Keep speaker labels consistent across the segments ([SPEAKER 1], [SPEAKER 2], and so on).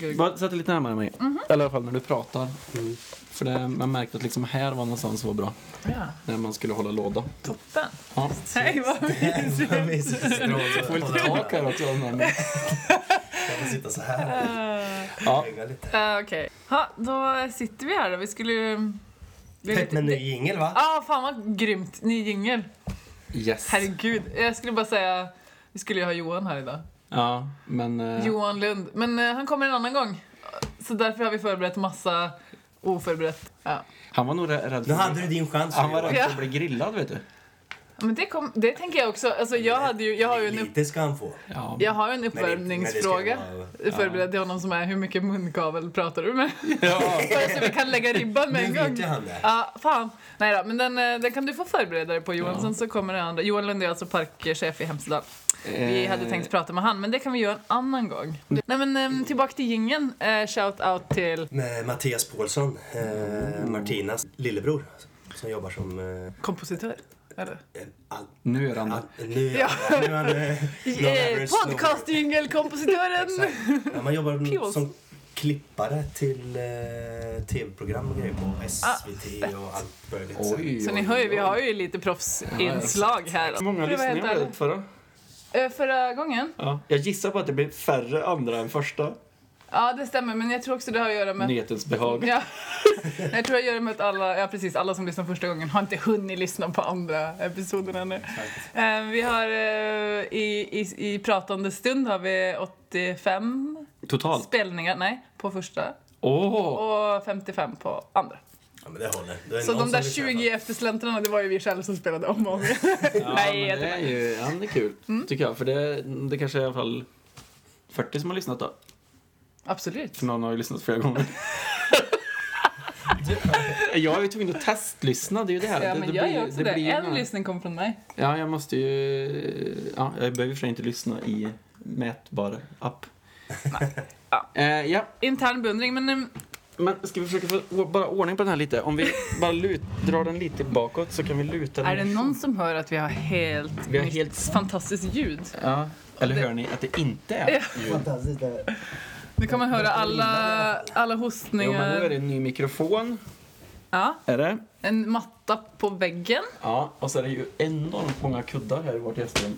[SPEAKER 1] Gud.
[SPEAKER 2] Bara sätt dig lite närmare mig.
[SPEAKER 1] Mhm.
[SPEAKER 2] Eller i alla fall när du pratar. För det, man märkte att liksom här var någonstans som var bra.
[SPEAKER 1] Ja,
[SPEAKER 2] När man skulle hålla låda.
[SPEAKER 1] toppen.
[SPEAKER 2] Ja.
[SPEAKER 1] Nej, vad mysigt.
[SPEAKER 2] Jag får lite tak här också. av den här.
[SPEAKER 3] Jag får sitta så här.
[SPEAKER 2] Ja.
[SPEAKER 3] Hänga lite.
[SPEAKER 1] Eh, Okej. Ja, då sitter vi här då. Vi skulle ju... Det är
[SPEAKER 3] Pepp
[SPEAKER 1] lite-
[SPEAKER 3] med ny jingel va?
[SPEAKER 1] Ja, ah, fan vad grymt. Ny jingel.
[SPEAKER 2] Yes.
[SPEAKER 1] Herregud. Jag skulle bara säga... Vi skulle ju ha Johan här idag.
[SPEAKER 2] Ja, men... eh,
[SPEAKER 1] Johan Lund. Men eh, han kommer en annan gång. Så därför har vi förberett massa oförberett. Ja.
[SPEAKER 2] Han var nog rä- rädd
[SPEAKER 3] Nu hade
[SPEAKER 2] bli-
[SPEAKER 3] du din chans.
[SPEAKER 2] Han var
[SPEAKER 3] Johan.
[SPEAKER 2] rädd för att bli grillad, vet du.
[SPEAKER 1] Men det, kom, det tänker jag också. Alltså, jag, hade ju, jag har ju en, upp,
[SPEAKER 3] Lite ska han få.
[SPEAKER 2] Ja.
[SPEAKER 1] jag har ju en
[SPEAKER 3] Men det- men det ska
[SPEAKER 1] uppvärmningsfråga.
[SPEAKER 3] vara-
[SPEAKER 1] Förberedd till honom som är hur mycket munkavel pratar du med?
[SPEAKER 2] Ja.
[SPEAKER 1] Bara så vi kan lägga ribban med
[SPEAKER 3] Nu
[SPEAKER 1] en
[SPEAKER 3] vet ju
[SPEAKER 1] gång.
[SPEAKER 3] han det.
[SPEAKER 1] Ja, fan. Nej då, men den, eh, den kan du få förbereda dig på Johan, sen så kommer den andra. Johan Lund är alltså parkchef i Hemsedal. Vi
[SPEAKER 2] Eh,
[SPEAKER 1] hade tänkt prata med han, men det kan vi göra en annan gång. Nej men eh, tillbaka till gingen. Eh, Shout out till
[SPEAKER 3] Med Mattias Paulsson, eh, Martinas lillebror. Som jobbar som... Eh,
[SPEAKER 1] kompositör. Eller?
[SPEAKER 3] all,
[SPEAKER 2] Nu är han
[SPEAKER 3] all,
[SPEAKER 2] det.
[SPEAKER 3] nu är
[SPEAKER 1] Ja.
[SPEAKER 3] han, nu är han eh, någon
[SPEAKER 1] Eh,
[SPEAKER 3] average snubbe.
[SPEAKER 1] Podcastjingelkompositören!
[SPEAKER 3] Exakt. Ja, man jobbar
[SPEAKER 1] Pules.
[SPEAKER 3] som klippare till eh, tv-program och grejer på SVT och allt möjligt. så.
[SPEAKER 2] Oj,
[SPEAKER 1] Så
[SPEAKER 2] oj,
[SPEAKER 1] ni hör ju,
[SPEAKER 2] oj.
[SPEAKER 1] vi har ju lite proffsinslag här.
[SPEAKER 2] Hur många
[SPEAKER 1] För att vara helt
[SPEAKER 2] lyssningar blev det
[SPEAKER 1] ärlig.
[SPEAKER 2] förra?
[SPEAKER 1] Eh, Förra gången?
[SPEAKER 2] Ja. Jag gissar på att det blir färre andra än första.
[SPEAKER 1] Ja, det stämmer, men jag tror också det har att göra med...
[SPEAKER 2] Nyhetens behag.
[SPEAKER 1] Ja. Nej, Jag tror det gör det med att alla, ja, precis, alla som lyssnar första gången har inte hunnit lyssna på andra episoden ännu. Eh, Vi har eh, i, i, i pratande stund har vi 85
[SPEAKER 2] Totalt.
[SPEAKER 1] spelningar, nej, på första
[SPEAKER 2] Åh!
[SPEAKER 1] och 55 på andra.
[SPEAKER 3] Ja, men det håller. Det är
[SPEAKER 1] Så
[SPEAKER 3] någon
[SPEAKER 1] de där
[SPEAKER 3] som lyssnar.
[SPEAKER 1] 20 eftersläntrarna, det var ju vi själva som spelade om och om igen.
[SPEAKER 2] Ja,
[SPEAKER 1] Nej,
[SPEAKER 2] men
[SPEAKER 1] jag
[SPEAKER 2] det är ju ja, men det är kul, tycker jag. För det, det kanske är i alla fall 40 som har lyssnat då.
[SPEAKER 1] Absolut.
[SPEAKER 2] För någon har ju lyssnat flera gånger. jag är ju tvungen att testlyssna, det är ju det här.
[SPEAKER 1] Ja,
[SPEAKER 2] det,
[SPEAKER 1] men
[SPEAKER 2] det
[SPEAKER 1] jag
[SPEAKER 2] blir-
[SPEAKER 1] gör också det.
[SPEAKER 2] blir ju
[SPEAKER 1] En
[SPEAKER 2] några-
[SPEAKER 1] lyssning kom från mig.
[SPEAKER 2] Ja, jag måste ju... Ja, jag behöver ju för sig inte lyssna i mätbar app.
[SPEAKER 1] Ja.
[SPEAKER 2] Eh, ja,
[SPEAKER 1] Intern beundring, men eh, em,
[SPEAKER 2] men ska vi försöka få å- bara ordning på den här lite? Om vi bara lut, drar den lite bakåt så kan vi luta den.
[SPEAKER 1] är det någon som hör att vi har helt,
[SPEAKER 2] Vi har
[SPEAKER 1] nytt
[SPEAKER 2] helt-
[SPEAKER 1] fantastiskt ljud?
[SPEAKER 2] Ja, eller hör ni att det inte är?
[SPEAKER 3] Fantastiskt. det-
[SPEAKER 1] Nu kan man höra alla, alla
[SPEAKER 2] Jo, men nu är
[SPEAKER 1] hostningar.
[SPEAKER 2] det en ny mikrofon.
[SPEAKER 1] Ja,
[SPEAKER 2] Är det?
[SPEAKER 1] en matta på väggen.
[SPEAKER 2] Ja, och så är det ju enormt många kuddar här i vårt gästrum.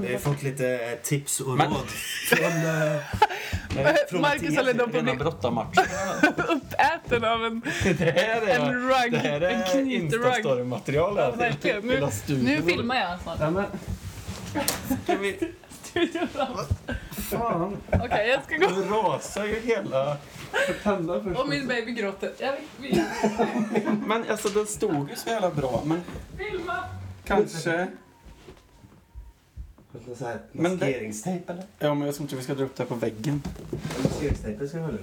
[SPEAKER 3] Vi har fått lite eh, tips och
[SPEAKER 2] Men-
[SPEAKER 3] råd från... Eh, från
[SPEAKER 1] Marcus håller
[SPEAKER 3] Mattias.
[SPEAKER 1] då på att
[SPEAKER 2] Rena
[SPEAKER 1] bli
[SPEAKER 2] brottarmatchen.
[SPEAKER 1] uppäten av en...
[SPEAKER 2] Det här är,
[SPEAKER 1] En rugg,
[SPEAKER 2] det här
[SPEAKER 1] en
[SPEAKER 2] är
[SPEAKER 1] knytrugg.
[SPEAKER 2] Instastory-material här.
[SPEAKER 1] Ja, verkligen. Nu-
[SPEAKER 2] Hela studion.
[SPEAKER 1] Nu filmar jag alltså. snart.
[SPEAKER 2] Ja, men... Kan vi... Fan,
[SPEAKER 1] Okej, jag ska gå.
[SPEAKER 2] nu rasar ju hela... Tända först.
[SPEAKER 1] Och min baby gråter. Jag vill vill
[SPEAKER 2] Men alltså den stod ju så jävla bra. Men
[SPEAKER 1] filma.
[SPEAKER 2] kanske...
[SPEAKER 3] Så här,
[SPEAKER 2] Men det-
[SPEAKER 3] Maskeringstejp eller?
[SPEAKER 2] Ja, men jag tror inte vi ska dra upp det här på väggen.
[SPEAKER 3] Maskeringstejpen ska vi hålla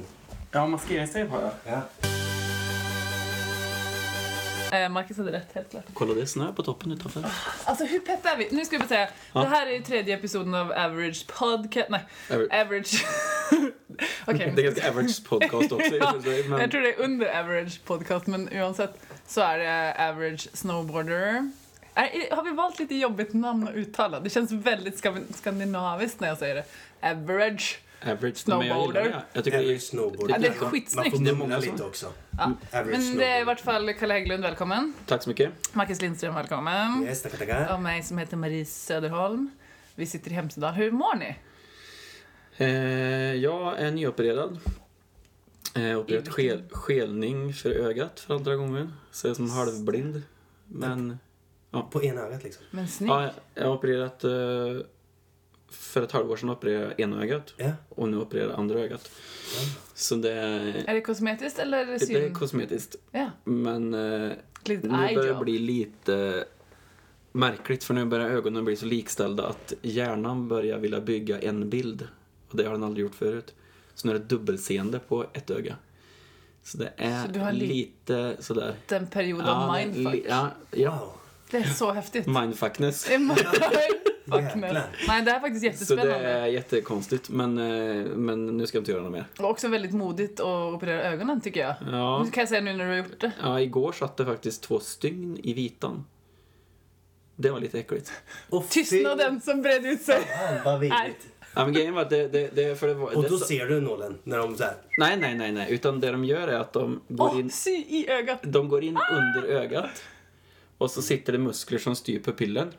[SPEAKER 2] Ja, maskeringstejp har jag.
[SPEAKER 3] Ja.
[SPEAKER 1] Eh, Marcus hade rätt, helt klart.
[SPEAKER 2] Kolla, det är snö på toppen utanför.
[SPEAKER 1] Alltså hur pepp är vi? Nu ska vi bara säga,
[SPEAKER 2] Ja.
[SPEAKER 1] det här är ju tredje episoden av Average Podcast... Nej,
[SPEAKER 2] Average.
[SPEAKER 1] Average... Eh, Okej.
[SPEAKER 2] Det är ganska average podcast också.
[SPEAKER 1] Ja,
[SPEAKER 2] men...
[SPEAKER 1] Jag tror det är under average podcast, men oavsett så är det average snowboarder. Är, har vi valt lite jobbigt namn att uttala? Det känns väldigt skav- skandinaviskt när jag säger det. Average.
[SPEAKER 2] Average
[SPEAKER 1] Snowboarder.
[SPEAKER 2] Men jag gillar det. Jag tycker det
[SPEAKER 3] Average
[SPEAKER 2] är...
[SPEAKER 3] snowboard.
[SPEAKER 1] Ja, det är skitsnyggt.
[SPEAKER 3] Man
[SPEAKER 2] Det är
[SPEAKER 3] får
[SPEAKER 2] många
[SPEAKER 3] mumla
[SPEAKER 2] som-
[SPEAKER 3] lite också.
[SPEAKER 1] Ja.
[SPEAKER 3] Average
[SPEAKER 1] Men det är i
[SPEAKER 3] snowboard.
[SPEAKER 1] vart fall Kalle Hägglund, välkommen.
[SPEAKER 2] Tack så mycket.
[SPEAKER 1] Marcus Lindström, välkommen.
[SPEAKER 3] Yes, tackar, tackar.
[SPEAKER 1] Och mig som heter Marie Söderholm. Vi sitter i Hemsedal. Hur mår ni?
[SPEAKER 2] Eh, jag är nyopererad. Eh, opererat
[SPEAKER 1] I
[SPEAKER 2] skel, skelning för ögat för andra gången. Så jag är som halvblind. Men
[SPEAKER 3] På ena ögat liksom.
[SPEAKER 1] Men snyggt.
[SPEAKER 2] ja, jag har opererat... Eh, för ett halvår sedan opererade jag ena ögat
[SPEAKER 3] Ja.
[SPEAKER 2] och nu opererar jag andra ögat. Så det är,
[SPEAKER 1] Är det kosmetiskt eller är det syn?
[SPEAKER 2] det är kosmetiskt.
[SPEAKER 1] ja,
[SPEAKER 2] Men eh,
[SPEAKER 1] lite
[SPEAKER 2] nu
[SPEAKER 1] eye
[SPEAKER 2] börjar det
[SPEAKER 1] job.
[SPEAKER 2] bli lite märkligt för nu börjar ögonen bli så likställda att hjärnan börjar vilja bygga en bild. Och det har den aldrig gjort förut. Så nu är det dubbelseende på ett öga. Så det är
[SPEAKER 1] Så du har li-
[SPEAKER 2] lite sådär.
[SPEAKER 1] Den perioden
[SPEAKER 2] Ja, det-
[SPEAKER 1] mindfuck.
[SPEAKER 2] li- ja, ja.
[SPEAKER 3] Wow.
[SPEAKER 1] Det är så häftigt.
[SPEAKER 2] mindfuckness.
[SPEAKER 1] Det är mindfuckness.
[SPEAKER 3] Jäklar.
[SPEAKER 1] Nej, det här är faktiskt
[SPEAKER 2] Så det
[SPEAKER 1] jättespännande.
[SPEAKER 2] är jättekonstigt men, eh, men nu ska jag inte göra något mer.
[SPEAKER 1] Det var också väldigt modigt att operera ögonen tycker jag.
[SPEAKER 2] Ja,
[SPEAKER 1] Det kan jag säga nu när du har gjort det.
[SPEAKER 2] ja, igår satt det faktiskt två stygn i vitan. Det var lite äckligt.
[SPEAKER 3] Och fy
[SPEAKER 1] Tystnaden som bredde ut sig.
[SPEAKER 3] Fan vad vidrigt.
[SPEAKER 2] Ja, men grejen var att det, det, det, för det var...
[SPEAKER 3] Och
[SPEAKER 2] det,
[SPEAKER 3] då
[SPEAKER 2] sa-
[SPEAKER 3] ser du nålen när de så här.
[SPEAKER 2] Nej, nej, nej, nej. Utan det de gör är att de går
[SPEAKER 1] Åh,
[SPEAKER 2] in,
[SPEAKER 1] sy i ögat!
[SPEAKER 2] de går in under ögat. Och så sitter det muskler som styr pupillen.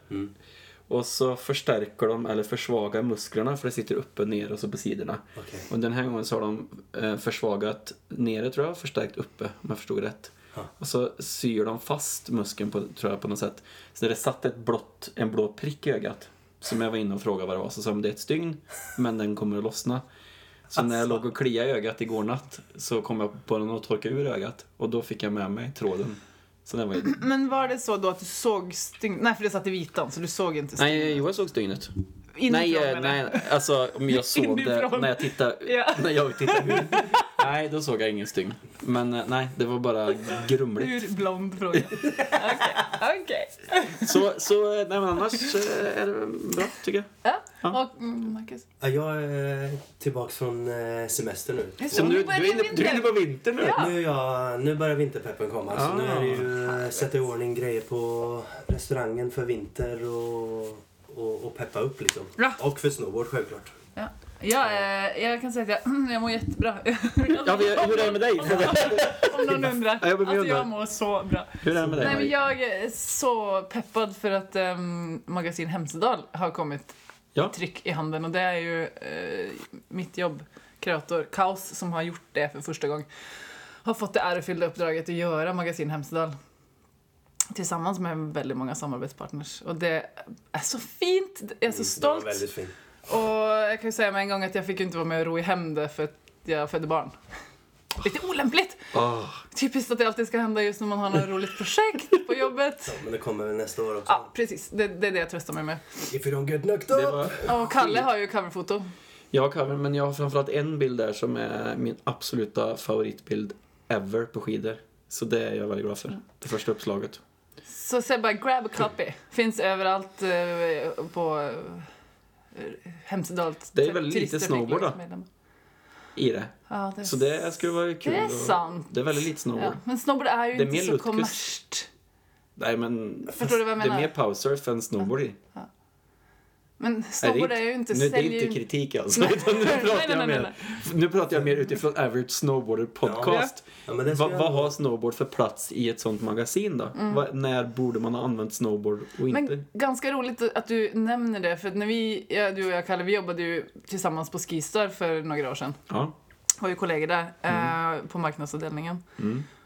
[SPEAKER 2] Och så förstärker de eller försvagar musklerna för det sitter uppe, ner och så på sidorna.
[SPEAKER 3] Okej.
[SPEAKER 2] Och den här gången så har de eh, försvagat nere tror jag och förstärkt uppe om jag förstod rätt. Och så syr de fast muskeln på, tror jag på något sätt. Så när det satt ett blått, en blå prick i ögat som jag var inne och frågade vad det var så sa de det är ett stygn men den kommer att lossna. Så när jag låg och kliade i ögat igår natt så kom jag på den och torkade ur ögat och då fick jag med mig tråden. Så den var ju...
[SPEAKER 1] Men var det så då att du såg stygn... Nej, för det satt i vitan så du såg inte stygn.
[SPEAKER 2] Nej, Johan såg stygnet. Nej,
[SPEAKER 1] Inifrån,
[SPEAKER 2] eh,
[SPEAKER 1] eller?
[SPEAKER 2] nej, alltså om jag såg det
[SPEAKER 1] Inifrån.
[SPEAKER 2] när jag tittade,
[SPEAKER 1] Ja.
[SPEAKER 2] när jag tittade ut. Nej, då såg jag ingen stygn. Men eh, nej, det var bara grumligt.
[SPEAKER 1] Hur blond fråga. Okej, okej.
[SPEAKER 2] Så, så eh, nej, men annars eh, är det bra tycker jag.
[SPEAKER 1] Ja. Och mm, Marcus?
[SPEAKER 3] Ja, jag är tillbaks från eh, semester nu.
[SPEAKER 1] Det är så.
[SPEAKER 2] Som
[SPEAKER 1] Nu
[SPEAKER 2] du, du,
[SPEAKER 1] börjar
[SPEAKER 2] är inne, du är inne på vintern nu.
[SPEAKER 1] Ja. Ah.
[SPEAKER 3] Nu, är jag, nu börjar vinterpeppen komma. Så nu är det ju eh, sätta i ordning grejer på restaurangen för vinter och, och, och peppa upp liksom.
[SPEAKER 1] Ja.
[SPEAKER 3] Och för snowboard självklart.
[SPEAKER 1] Ja. Jag, eh, jag kan säga att jag, jag mår jättebra.
[SPEAKER 2] Ja, vi, hur är det med dig?
[SPEAKER 1] Om någon undrar.
[SPEAKER 2] Ja, jag blir
[SPEAKER 1] Alltså jag
[SPEAKER 2] beundrad.
[SPEAKER 1] mår så bra.
[SPEAKER 2] Hur är det med dig?
[SPEAKER 1] Nej, men
[SPEAKER 2] Marie?
[SPEAKER 1] jag är så peppad för att ehm, magasin Hemsedal har kommit
[SPEAKER 2] Ja.
[SPEAKER 1] tryck i handen och det är ju eh, mitt jobb, kreator Kaos, som har gjort det för första gången. Har fått det ärofyllda uppdraget att göra magasin Hemsedal tillsammans med väldigt många samarbetspartners och det är så fint, jag är så
[SPEAKER 3] Den Mm, var
[SPEAKER 1] stolt.
[SPEAKER 3] väldigt fin.
[SPEAKER 1] Och jag kan ju säga med en gång att jag fick ju inte vara med och ro i hem det för att jag födde barn. Lite olämpligt!
[SPEAKER 2] Åh,
[SPEAKER 1] Typiskt att det alltid ska hända just när man har något roligt projekt på jobbet.
[SPEAKER 3] Men det kommer väl nästa år också.
[SPEAKER 1] Ja,
[SPEAKER 2] Typ.
[SPEAKER 1] precis. Det, det är det jag tröstar mig med.
[SPEAKER 3] If you don't get knocked
[SPEAKER 2] det
[SPEAKER 3] up!
[SPEAKER 2] var,
[SPEAKER 1] Och Kalle har ju coverfoto.
[SPEAKER 2] jag har cover, men jag har framförallt en bild där som är min absoluta favoritbild ever på skidor. Så det är jag väldigt glad för. Det första uppslaget.
[SPEAKER 1] Så säg bara grab a copy. Finns överallt eh, på eh, Hemsedal.
[SPEAKER 2] Det är väldigt lite snowboard, då. I det.
[SPEAKER 1] Ja, det är,
[SPEAKER 2] Så det skulle vara kul.
[SPEAKER 1] Det är
[SPEAKER 2] att-
[SPEAKER 1] sant.
[SPEAKER 2] Det är väldigt lite snowboard.
[SPEAKER 1] Ja. Men snowboard är ju
[SPEAKER 2] Det är
[SPEAKER 1] inte
[SPEAKER 2] mer
[SPEAKER 1] så
[SPEAKER 2] lutkus.
[SPEAKER 1] kommersiellt.
[SPEAKER 2] Nej men...
[SPEAKER 1] Förstår du vad jag menar?
[SPEAKER 2] Det är mer powersurf än snowboard i.
[SPEAKER 1] Men
[SPEAKER 2] Nej, det
[SPEAKER 1] snowboard är ju inte...
[SPEAKER 2] nu, Det
[SPEAKER 1] säljer
[SPEAKER 2] är
[SPEAKER 1] ju-
[SPEAKER 2] inte kritik alltså. Utan nu, pratar
[SPEAKER 1] nej, nej,
[SPEAKER 2] jag
[SPEAKER 1] nej,
[SPEAKER 2] mer, nu pratar jag mer utifrån Average Snowboarder Podcast.
[SPEAKER 3] Ja, men det ska
[SPEAKER 2] Vad
[SPEAKER 3] jag-
[SPEAKER 2] vad har snowboard för plats i ett sånt magasin då? Vad- när borde man ha använt snowboard och inte?
[SPEAKER 1] Mm. Men ganska roligt att du nämner det, för att när vi, ja, du och jag Kalle, vi jobbade ju tillsammans på Skistar för några år sedan.
[SPEAKER 2] Ja.
[SPEAKER 1] Var ju kollegor där
[SPEAKER 2] Mm.
[SPEAKER 1] eh, på marknadsavdelningen.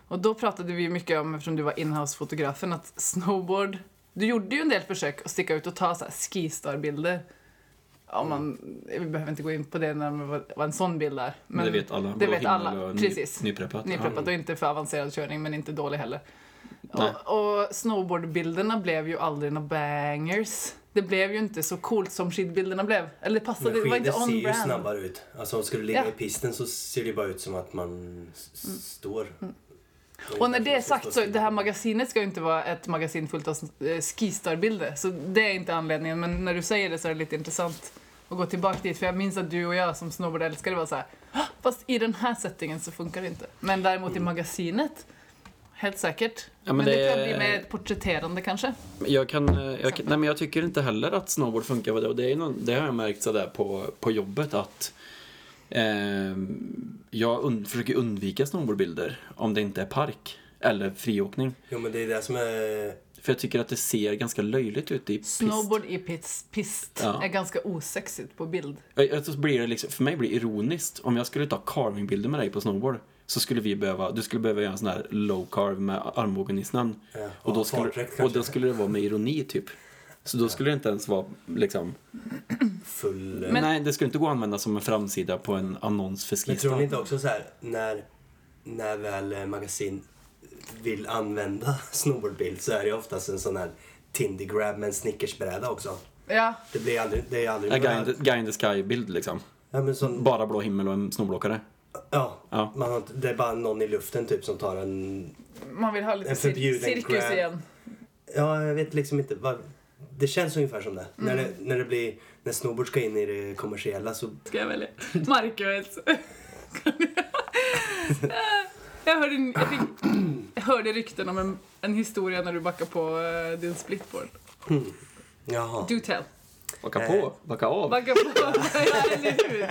[SPEAKER 1] Och då pratade vi mycket om, eftersom du var inhouse-fotografen, att snowboard... Du gjorde ju en del försök att sticka ut och ta så här Skistar-bilder. Ja, man, vi behöver inte gå in på det när det var- var en sån bild där.
[SPEAKER 2] Men det vet alla.
[SPEAKER 1] Det
[SPEAKER 2] Blå
[SPEAKER 1] vet
[SPEAKER 2] himmel
[SPEAKER 1] alla,
[SPEAKER 2] och ny-
[SPEAKER 1] precis.
[SPEAKER 2] Nypreppat.
[SPEAKER 1] Nypreppat och inte för avancerad körning, men inte dålig heller.
[SPEAKER 2] Nej.
[SPEAKER 1] Och, och snowboardbilderna blev ju aldrig några bangers. Det blev ju inte så coolt som skidbilderna blev. Eller det
[SPEAKER 3] Men
[SPEAKER 1] passade, det var inte
[SPEAKER 3] skidor ser ju
[SPEAKER 1] on-brand.
[SPEAKER 3] snabbare ut. Alltså ska du ligga
[SPEAKER 1] Ja. Mm.
[SPEAKER 3] i pisten så ser det bara ut som att man s- s- står.
[SPEAKER 1] Och när det är
[SPEAKER 3] Man ska
[SPEAKER 1] sagt
[SPEAKER 3] stå
[SPEAKER 1] så, det här magasinet ska ju inte vara ett magasin fullt av eh, skistarbilder. Så det är inte anledningen, men när du säger det så är det lite intressant att gå tillbaka dit. För jag minns att du och jag som snowboardälskare var så här, "Hå, fast i den här settingen så funkar det inte. Men däremot
[SPEAKER 3] Mm.
[SPEAKER 1] i magasinet, helt säkert.
[SPEAKER 2] men
[SPEAKER 1] men, det,
[SPEAKER 2] det
[SPEAKER 1] kan
[SPEAKER 2] är-
[SPEAKER 1] bli mer porträtterande kanske.
[SPEAKER 2] Jag kan, eh, jag, kan- nej men jag tycker inte heller att snowboard funkar på det och det, är någon, det har jag märkt sådär på, på jobbet att eh, jag und, försöker undvika snowboardbilder om det inte är park eller friåkning.
[SPEAKER 3] Jo men det är det som är...
[SPEAKER 2] För jag tycker att det ser ganska löjligt ut i pist.
[SPEAKER 1] Snowboard i pist, pist
[SPEAKER 2] Ja.
[SPEAKER 1] är ganska osexigt på bild.
[SPEAKER 2] Jag- jag- Så blir det liksom, för mig blir det ironiskt. Om jag skulle ta carvingbilder med dig på snowboard så skulle vi behöva, du skulle behöva göra en sån här low carve med armbågen i snön.
[SPEAKER 3] eh, Ja,
[SPEAKER 2] och, då
[SPEAKER 3] och
[SPEAKER 2] skulle,
[SPEAKER 3] farträck
[SPEAKER 2] och då
[SPEAKER 3] kanske.
[SPEAKER 2] skulle det vara med ironi typ. Så då skulle det inte ens vara liksom
[SPEAKER 3] full... eh, Men,
[SPEAKER 1] Men-
[SPEAKER 2] Nej, det skulle inte gå att använda som en framsida på en annons för
[SPEAKER 3] tror ni
[SPEAKER 2] Skistar.
[SPEAKER 3] inte också så här när, när väl eh, magasin vill använda snowboardbild så är det oftast en sån här Tindy grab med en snickersbräda också.
[SPEAKER 1] Ja,
[SPEAKER 3] Det blir aldrig... Det är aldrig...
[SPEAKER 2] En guy in the- guy in the sky-bild liksom.
[SPEAKER 3] ja, men sån,
[SPEAKER 2] Bara blå himmel och en snowblåkare.
[SPEAKER 3] ja,
[SPEAKER 2] Ja.
[SPEAKER 3] Man har, inte- det är bara någon i luften typ som tar en...
[SPEAKER 1] man vill ha lite
[SPEAKER 3] En
[SPEAKER 1] cir-
[SPEAKER 3] förbjuden
[SPEAKER 1] cirkus
[SPEAKER 3] grab.
[SPEAKER 1] igen.
[SPEAKER 3] Ja, jag vet liksom inte. Vad, det känns ungefär som det. När, det, när det blir... När snowboard ska in i det kommersiella så
[SPEAKER 1] Ska jag välja? Marcus. jag, hörde, en- jag, fick, jag hörde rykten om en, en historia när du backade på eh, din splitboard.
[SPEAKER 3] Jaha.
[SPEAKER 1] Do tell.
[SPEAKER 2] Backa
[SPEAKER 3] Eh.
[SPEAKER 2] på, backa av.
[SPEAKER 1] Backa på. Ja, eller hur?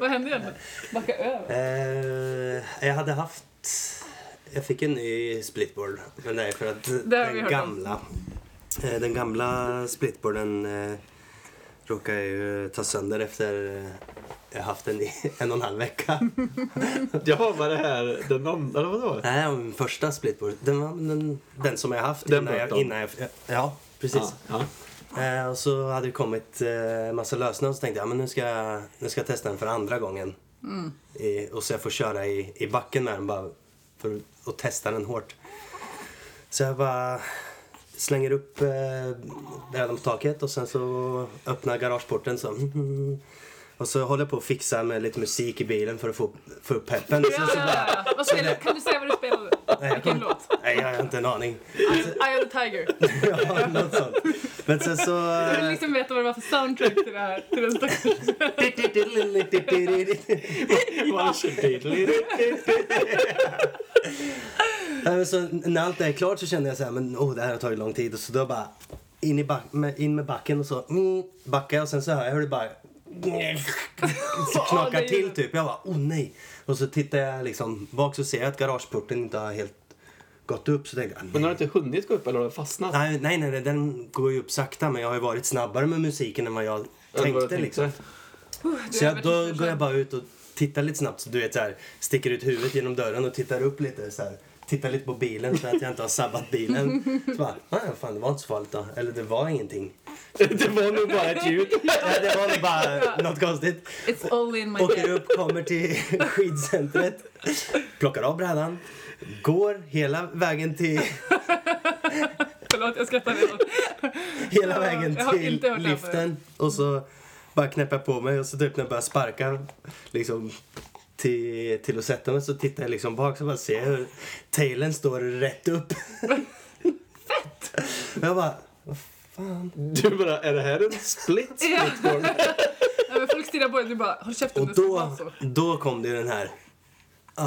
[SPEAKER 1] Vad hände egentligen? Backa över.
[SPEAKER 3] Eh, jag hade haft... Jag fick en ny splitboard. Men det är för att
[SPEAKER 1] Det har vi hört
[SPEAKER 3] den
[SPEAKER 1] om.
[SPEAKER 3] gamla... eh, Den gamla splitboarden eh, råkade jag ju ta sönder efter eh, jag haft den i en och en halv vecka.
[SPEAKER 2] Ja, var det här den andra, eller vadå?
[SPEAKER 3] Nej, ja, min första splitboard. Den, var den, den som jag haft
[SPEAKER 2] Den
[SPEAKER 3] innan, jag,
[SPEAKER 2] bötan.
[SPEAKER 3] innan jag... Ja, precis.
[SPEAKER 2] Ja, ja.
[SPEAKER 3] Eh, och så hade det kommit eh, massa lösnören så tänkte jag men nu ska, jag- nu ska jag testa den för andra gången.
[SPEAKER 1] Mm.
[SPEAKER 3] I, och så jag får köra i, i backen med den bara för att testa den hårt. Så jag bara slänger upp eh, brädan på taket och sen så öppnar garageporten så. Och så håller jag på och fixar med lite musik i bilen för att få, upp- få upp peppen. Och
[SPEAKER 1] Ja,
[SPEAKER 3] sen så
[SPEAKER 1] ja,
[SPEAKER 3] bara,
[SPEAKER 1] ja. Vad spelar Kan du säga vad du spelar?
[SPEAKER 3] Nej, jag
[SPEAKER 1] Vilken låt?
[SPEAKER 3] nej jag har inte en aning.
[SPEAKER 1] Eye of the Tiger.
[SPEAKER 3] Ja, något sånt. Men sen så...
[SPEAKER 1] Jag vill
[SPEAKER 3] eh,
[SPEAKER 1] liksom veta vad det var för soundtrack till det här. Till den stackars.
[SPEAKER 3] Nej, men så när allt det här är klart så kände jag så här, men oh, det här har tagit lång tid. Och så då bara in, i back, med, in med backen och så mm, backar jag och sen så hör jag hur det bara så
[SPEAKER 1] Ja, det
[SPEAKER 3] knakar
[SPEAKER 1] är
[SPEAKER 3] till
[SPEAKER 1] det.
[SPEAKER 3] typ. Jag bara, oh nej. Och så tittar jag liksom bak så ser jag att garageporten inte har helt gått upp. Så tänker jag,
[SPEAKER 2] Men har
[SPEAKER 3] nej.
[SPEAKER 2] du inte hunnit gå upp eller har du fastnat?
[SPEAKER 3] Nej, nej, nej, nej, den går ju upp sakta men jag har ju varit snabbare med musiken än vad jag
[SPEAKER 2] Eller vad du
[SPEAKER 3] tänkte liksom. Så jag, då går jag bara ut och tittar lite snabbt, så du vet så här, sticker ut huvudet genom dörren och tittar upp lite så här. Tittar lite på bilen så att jag inte har sabbat bilen. Så bara, nej fan det var inte så farligt då. Eller det var ingenting. liksom.
[SPEAKER 2] Det var nog bara ett ljud.
[SPEAKER 3] Nej, det var nog bara något konstigt.
[SPEAKER 1] It's all in my
[SPEAKER 3] Åker
[SPEAKER 1] head.
[SPEAKER 3] upp, kommer till skidcentret, plockar av brädan, går hela vägen till,
[SPEAKER 1] Förlåt, jag skrattar redan.
[SPEAKER 3] hela vägen
[SPEAKER 1] Jag har
[SPEAKER 3] till
[SPEAKER 1] inte hört det här
[SPEAKER 3] liften och så bara knäpper jag på mig och så typ när jag börjar sparka liksom till, till att sätta mig så tittar jag liksom bak så bara ser jag hur tailen står rätt upp. Fett! Jag bara, vad fan?
[SPEAKER 2] Du bara, är det här en split
[SPEAKER 1] Ja.
[SPEAKER 2] splitboard?
[SPEAKER 1] Nej, men folk stirrar på dig och du bara håll käften.
[SPEAKER 3] Och
[SPEAKER 1] det ska vara
[SPEAKER 3] då,
[SPEAKER 1] så.
[SPEAKER 3] då kom det ju den här.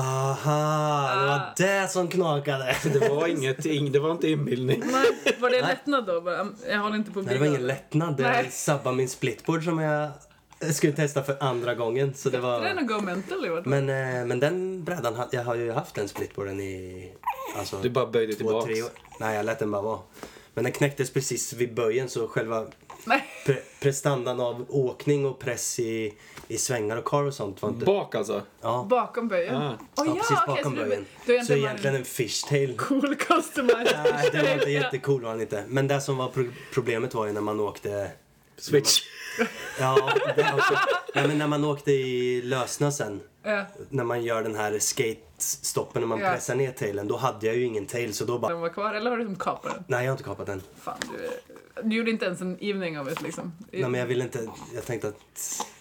[SPEAKER 3] Aha, det var
[SPEAKER 1] Ah.
[SPEAKER 3] det som knakade.
[SPEAKER 2] Det var inget, ing- det var inte inbildning.
[SPEAKER 1] Nej, var det en lättnad då? Bara, mm, jag håller inte på att
[SPEAKER 3] Nej, det var ingen lättnad.
[SPEAKER 1] Nej.
[SPEAKER 3] Det sabbade min splitboard som jag skulle testa för andra gången. Så det
[SPEAKER 1] Det är
[SPEAKER 3] var...
[SPEAKER 1] nog go mental i år.
[SPEAKER 3] Men, eh, men den brädan, ha- jag har ju haft den splitboarden i... Alltså,
[SPEAKER 2] Du bara böjde
[SPEAKER 3] två,
[SPEAKER 2] tillbaks.
[SPEAKER 3] tre år. Nej, jag lät den bara vara. Men den knäcktes precis vid böjen så själva
[SPEAKER 1] Nej.
[SPEAKER 3] pre- prestandan av åkning och press i, i svängar och kar och sånt var inte...
[SPEAKER 2] Bak alltså.
[SPEAKER 3] ja.
[SPEAKER 1] Bakom böjen?
[SPEAKER 2] Ah.
[SPEAKER 1] Åh,
[SPEAKER 3] ja, precis
[SPEAKER 1] okej,
[SPEAKER 3] bakom
[SPEAKER 1] så du-
[SPEAKER 3] böjen.
[SPEAKER 1] Du är
[SPEAKER 3] så
[SPEAKER 1] egentligen,
[SPEAKER 3] egentligen en fishtail.
[SPEAKER 1] bara en cool customer.
[SPEAKER 3] Nej, det var inte jättecool var han inte. Men det som var pro- problemet var ju när man åkte...
[SPEAKER 2] Switch.
[SPEAKER 3] Ja, det också. Nej, men när man åkte i lösna sen.
[SPEAKER 1] Ja,
[SPEAKER 3] när man gör den här skate-stoppen när man
[SPEAKER 1] Ja.
[SPEAKER 3] pressar ner tailen, då hade jag ju ingen tail så då bara
[SPEAKER 1] den var kvar, eller har du som kapat den?
[SPEAKER 3] Nej jag har inte kapat den.
[SPEAKER 1] Fan, du, är- du gjorde inte ens en evening av det liksom.
[SPEAKER 3] Nej men jag vill inte, jag tänkte att,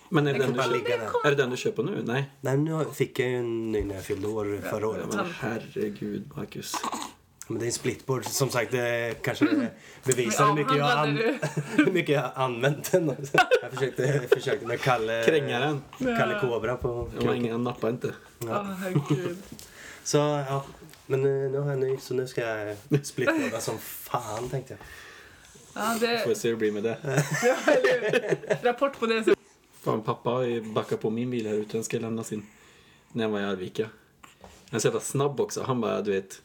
[SPEAKER 2] Men är det,
[SPEAKER 1] Den
[SPEAKER 2] den du,
[SPEAKER 1] kanske
[SPEAKER 3] bara
[SPEAKER 2] köper-
[SPEAKER 3] ligga
[SPEAKER 1] blir
[SPEAKER 3] där.
[SPEAKER 1] kvar.
[SPEAKER 2] är det den du köper nu? Nej.
[SPEAKER 3] nej nu har- fick jag ju en ny när jag fyllde år förra året.
[SPEAKER 2] Men herregud, Marcus.
[SPEAKER 3] Men det är en splitboard, som sagt det kanske bevisar hur
[SPEAKER 1] Men
[SPEAKER 3] mycket jag har, an-
[SPEAKER 1] avhandlade
[SPEAKER 3] hur mycket jag har använt den. också. Jag försökte, jag försökte med Kalle,
[SPEAKER 2] Krängaren.
[SPEAKER 3] Kalle Kobra på
[SPEAKER 2] Det var ingen, han nappade inte.
[SPEAKER 1] Ja, herregud.
[SPEAKER 3] Så ja, men eh, nu har jag en ny så nu ska jag splitboarda som fan tänkte jag.
[SPEAKER 1] Ja, det,
[SPEAKER 2] Får se hur det blir med det.
[SPEAKER 1] ja, eller, rapport på det. sen.
[SPEAKER 2] Fan, pappa backar på min bil här ute. Den ska lämnas in. När jag var i Arvika. Han är så jävla snabb också. Han bara, du vet,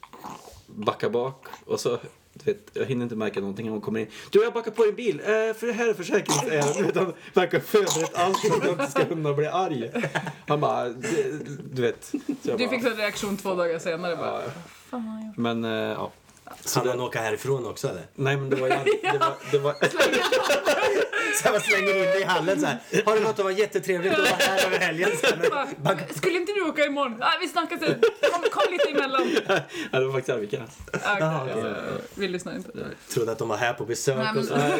[SPEAKER 2] backar bak. Och så, du vet, jag hinner inte märka någonting. Han kommer in. Du, jag backar på din bil. Eh, för det här är försäkringsärende. Du vet, Han verkar förberett allt för att jag inte ska kunna bli arg. Han bara, du, du vet. Så jag
[SPEAKER 1] Du
[SPEAKER 2] bara,
[SPEAKER 1] fick en reaktion två dagar senare bara.
[SPEAKER 2] Ja.
[SPEAKER 1] Fan,
[SPEAKER 2] Men, eh, ja.
[SPEAKER 3] Hann han åka härifrån också eller?
[SPEAKER 2] Nej, men det var, ju- det var, det var
[SPEAKER 3] Så jag slänger in dig i hallen så här. Har du något att vara jättetrevligt att vara här över helgen? Så här, men-
[SPEAKER 1] jag bara, skulle inte du åka imorgon? Ah, vi snackar sen. Kom, kom lite emellan.
[SPEAKER 2] Ja, det var faktiskt Arvika.
[SPEAKER 1] Ah,
[SPEAKER 3] Jaha,
[SPEAKER 1] okej.
[SPEAKER 3] okej.
[SPEAKER 1] Vi lyssnar inte.
[SPEAKER 3] Trodde att de var här på besök
[SPEAKER 1] Nej, men-
[SPEAKER 3] och så. Nej,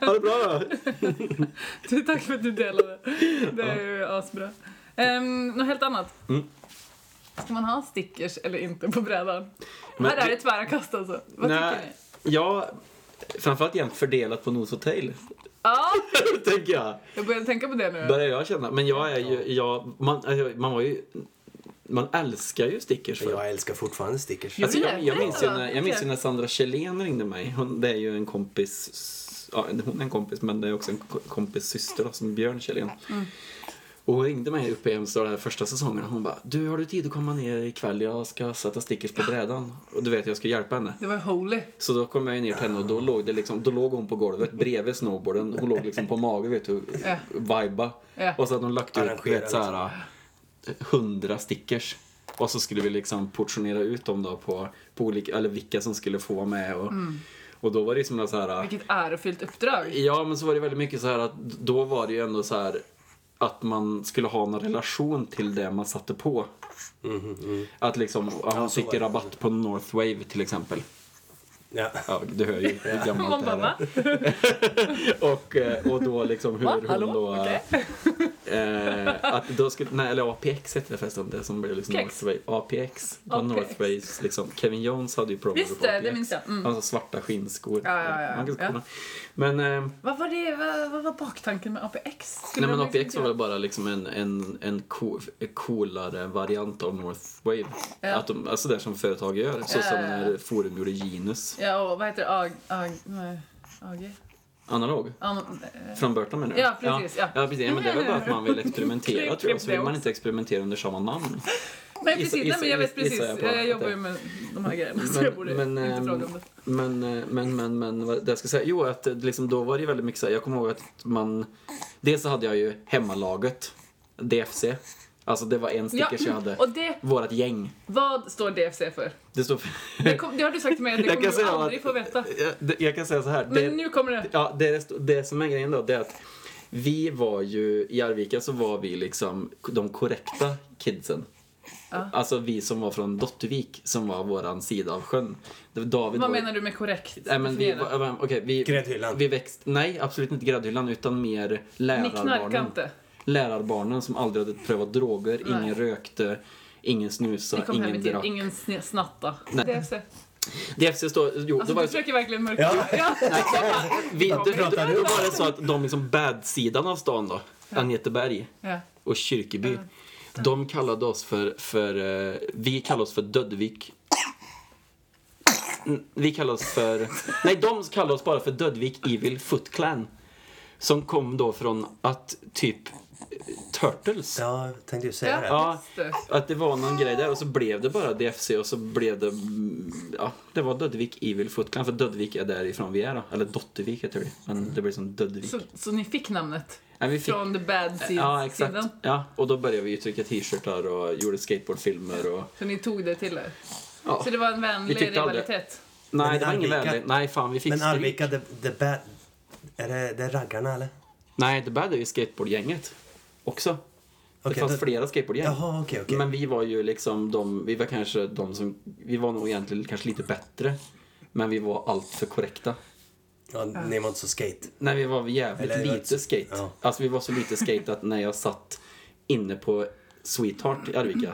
[SPEAKER 2] Ha det bra då!
[SPEAKER 1] Du, Tack för att du delade. Det är ju asbra. Um, något helt annat?
[SPEAKER 2] Mm.
[SPEAKER 1] Ska man ha stickers eller inte på brädan?
[SPEAKER 2] Men
[SPEAKER 1] Här är
[SPEAKER 2] det-
[SPEAKER 1] det tvära kast alltså. Vad tycker ni?
[SPEAKER 2] Ja, framförallt jämnt fördelat på nos och tail,
[SPEAKER 1] Ja,
[SPEAKER 2] tänker jag.
[SPEAKER 1] jag började tänka på det nu.
[SPEAKER 2] Börjar jag känna. Men jag är ju, jag, man, alltså, man var ju, man älskar ju stickers
[SPEAKER 3] men
[SPEAKER 2] för.
[SPEAKER 3] Jag älskar fortfarande stickers.
[SPEAKER 1] Ja.
[SPEAKER 2] Alltså,
[SPEAKER 1] Gjorde
[SPEAKER 2] jag,
[SPEAKER 1] det?
[SPEAKER 2] jag, minns ju
[SPEAKER 1] Ja.
[SPEAKER 2] när, jag minns ju när Sandra Kjellén ringde mig. Hon, det är ju en kompis ja, hon är en kompis, men det är också en ko- kompis syster då, som Björn Kjellén. Och hon ringde mig uppe i Halmstad den här första säsongen och hon bara Du, har du tid att komma ner ikväll? Jag ska sätta stickers på brädan. Och du vet, jag ska hjälpa henne.
[SPEAKER 1] Det var holy.
[SPEAKER 2] Så då kom jag ju ner till henne och då låg, det liksom, då låg hon på golvet bredvid snowboarden. Hon låg liksom på mage vet du, och
[SPEAKER 1] Ja.
[SPEAKER 2] viba.
[SPEAKER 1] Ja.
[SPEAKER 2] Och så hade hon lagt ut
[SPEAKER 3] Arrangera
[SPEAKER 2] vet, så här, hundra stickers. Och så skulle vi liksom portionera ut dem då på, på olika, eller vilka som skulle få vara med. Och,
[SPEAKER 1] Mm.
[SPEAKER 2] och då var det som liksom så här...
[SPEAKER 1] Vilket ärofyllt uppdrag.
[SPEAKER 2] Ja, men så var det väldigt mycket så här att då var det ju ändå så här att man skulle ha någon relation till det man satte på. Att liksom, ja, hon
[SPEAKER 3] Mm-hmm. så var
[SPEAKER 2] fick
[SPEAKER 3] det.
[SPEAKER 2] rabatt på Northwave till exempel.
[SPEAKER 3] Ja.
[SPEAKER 2] Ja, du hör ju hur
[SPEAKER 1] Man
[SPEAKER 2] gammalt det
[SPEAKER 1] bara,
[SPEAKER 2] här är.
[SPEAKER 1] va?
[SPEAKER 2] Och, eh, och då liksom hur
[SPEAKER 1] Va?
[SPEAKER 2] hon
[SPEAKER 1] Hallå?
[SPEAKER 2] då...
[SPEAKER 1] Okej.
[SPEAKER 2] Eh, att då skulle, nej, eller APX hette det förresten, det som blev liksom
[SPEAKER 1] Px.
[SPEAKER 2] Northway. APX, det var
[SPEAKER 1] APX.
[SPEAKER 2] Northways liksom. Kevin Jones hade ju promo
[SPEAKER 1] Visst
[SPEAKER 2] på
[SPEAKER 1] det,
[SPEAKER 2] APX.
[SPEAKER 1] det minns jag. Mm.
[SPEAKER 2] Alltså svarta skinnskor.
[SPEAKER 1] Ja, ja, ja,
[SPEAKER 2] Man kan
[SPEAKER 1] ja.
[SPEAKER 2] kolla. Men, eh,
[SPEAKER 1] Vad var det, vad, vad var baktanken med APX? Skulle
[SPEAKER 2] nej men
[SPEAKER 1] de liksom
[SPEAKER 2] APX var väl bara liksom en, en, en co- coolare variant av Northwave.
[SPEAKER 1] Ja.
[SPEAKER 2] Att de, alltså det som företag gör, så som
[SPEAKER 1] Ja, ja, ja.
[SPEAKER 2] när Forum gjorde Genus.
[SPEAKER 1] Ja, och vad heter det? AG? AG? nej, AG?
[SPEAKER 2] Analog.
[SPEAKER 1] An- eh,
[SPEAKER 2] Från Burton menar du?
[SPEAKER 1] Ja, precis, ja.
[SPEAKER 2] ja. precis. Ja, men det är väl bara att man vill experimentera tror jag, så vill man inte experimentera under samma namn.
[SPEAKER 1] Nej
[SPEAKER 2] Gissa-
[SPEAKER 1] precis, nej, men
[SPEAKER 2] gissa-
[SPEAKER 1] jag vet precis.
[SPEAKER 2] gissar jag på
[SPEAKER 1] Jag,
[SPEAKER 2] att
[SPEAKER 1] jobbar
[SPEAKER 2] det-
[SPEAKER 1] ju med de här grejerna så
[SPEAKER 2] Men-
[SPEAKER 1] jag borde
[SPEAKER 2] men,
[SPEAKER 1] inte
[SPEAKER 2] ehm,
[SPEAKER 1] fråga om det.
[SPEAKER 2] Men, eh, men, men, men vad det jag ska säga, jo att eh, liksom, då var det ju väldigt mycket så här, jag kommer ihåg att man, dels så hade jag ju hemmalaget, DFC, alltså det var en stickers jag hade,
[SPEAKER 1] och det,
[SPEAKER 2] vårat gäng.
[SPEAKER 1] vad står DFC för?
[SPEAKER 2] Det stod för...
[SPEAKER 1] Det, kom, det har du sagt till mig att det
[SPEAKER 2] Jag kan
[SPEAKER 1] kommer du
[SPEAKER 2] säga
[SPEAKER 1] aldrig
[SPEAKER 2] att-
[SPEAKER 1] få veta.
[SPEAKER 2] jag, det- jag kan säga så här, det,
[SPEAKER 1] Men nu kommer det.
[SPEAKER 2] ja, det, det som är grejen då, det är att vi var ju, i Arvika så var vi liksom de korrekta kidsen.
[SPEAKER 1] Ja.
[SPEAKER 2] Alltså vi som var från Dottervik som var våran sida av sjön. Det var David
[SPEAKER 1] Vad
[SPEAKER 2] var ju-
[SPEAKER 1] menar du med korrekt?
[SPEAKER 2] Nej, men vi,
[SPEAKER 1] definiera?
[SPEAKER 2] var- men, okej, vi,
[SPEAKER 3] Gräddhyllan.
[SPEAKER 2] Vi växt, nej, absolut inte gräddhyllan utan mer
[SPEAKER 1] Ni knarkar
[SPEAKER 2] lärarbarnen.
[SPEAKER 1] inte.
[SPEAKER 2] Lärarbarnen som aldrig hade prövat droger,
[SPEAKER 1] Nej.
[SPEAKER 2] ingen rökte, ingen
[SPEAKER 1] Ni
[SPEAKER 2] snusade,
[SPEAKER 1] kom hem i
[SPEAKER 2] ingen
[SPEAKER 1] tid,
[SPEAKER 2] drack.
[SPEAKER 1] ingen sne- snatta.
[SPEAKER 2] Nej.
[SPEAKER 1] DFC.
[SPEAKER 2] DFC står... Jo,
[SPEAKER 1] Alltså
[SPEAKER 2] då var
[SPEAKER 1] du
[SPEAKER 2] det så,
[SPEAKER 1] försöker verkligen mörka. Ja.
[SPEAKER 2] nej, vi, då, då, då
[SPEAKER 1] pratar du.
[SPEAKER 2] var det så att de liksom bad-sidan av stan då, Angeteberg
[SPEAKER 1] Ja.
[SPEAKER 2] och Kyrkeby, de kallade oss för, för eh, vi kallade oss för Dödvik. Mm, Vi kallade oss för, nej de kallade oss bara för Dödvik Evil Foot Clan. Som kom då från att typ eh, Turtles.
[SPEAKER 3] ja, jag tänkte ju säga det.
[SPEAKER 2] Ja.
[SPEAKER 1] just det.
[SPEAKER 2] Att det var någon grej där och så blev det bara DFC och så blev det, mm, ja, det var Dödvik Evil Foot Clan för Dödvik är därifrån vi är då. Eller Dottervik heter det, men det blir som Dödvik.
[SPEAKER 1] Så, så ni fick namnet?
[SPEAKER 2] Nej, vi fick
[SPEAKER 1] Från the bad
[SPEAKER 2] Ja,
[SPEAKER 1] seeds-
[SPEAKER 2] exakt.
[SPEAKER 1] sidan?
[SPEAKER 2] Ja, och då började vi ju trycka t-shirtar och gjorde skateboardfilmer och...
[SPEAKER 1] Så ni tog det till er?
[SPEAKER 2] Ja.
[SPEAKER 1] Så det var en
[SPEAKER 2] Vi
[SPEAKER 1] vänlig
[SPEAKER 2] tyckte aldrig-
[SPEAKER 1] rivalitet?
[SPEAKER 2] Nej,
[SPEAKER 3] Men
[SPEAKER 2] det var ingen
[SPEAKER 3] Arvika-
[SPEAKER 2] vänlig. Nej, fan, vi fick
[SPEAKER 3] Men
[SPEAKER 2] stryk.
[SPEAKER 3] Arvika, the, the bad... Är det, det är raggarna eller?
[SPEAKER 2] Nej, det bad är ju skateboardgänget också. det
[SPEAKER 3] Okej,
[SPEAKER 2] fanns
[SPEAKER 3] då-
[SPEAKER 2] flera skateboardgäng.
[SPEAKER 3] Jaha, okej, okej.
[SPEAKER 2] Men vi var ju liksom de, vi var kanske de som, vi var nog egentligen kanske lite bättre. Men vi var allt för korrekta.
[SPEAKER 3] Ja, ni var inte så skate.
[SPEAKER 2] Nej, vi var jävligt
[SPEAKER 3] Eller det var
[SPEAKER 2] lite
[SPEAKER 3] ett-
[SPEAKER 2] skate.
[SPEAKER 3] ja.
[SPEAKER 2] Alltså vi var så lite skate att när jag satt inne på Sweetheart i Arvika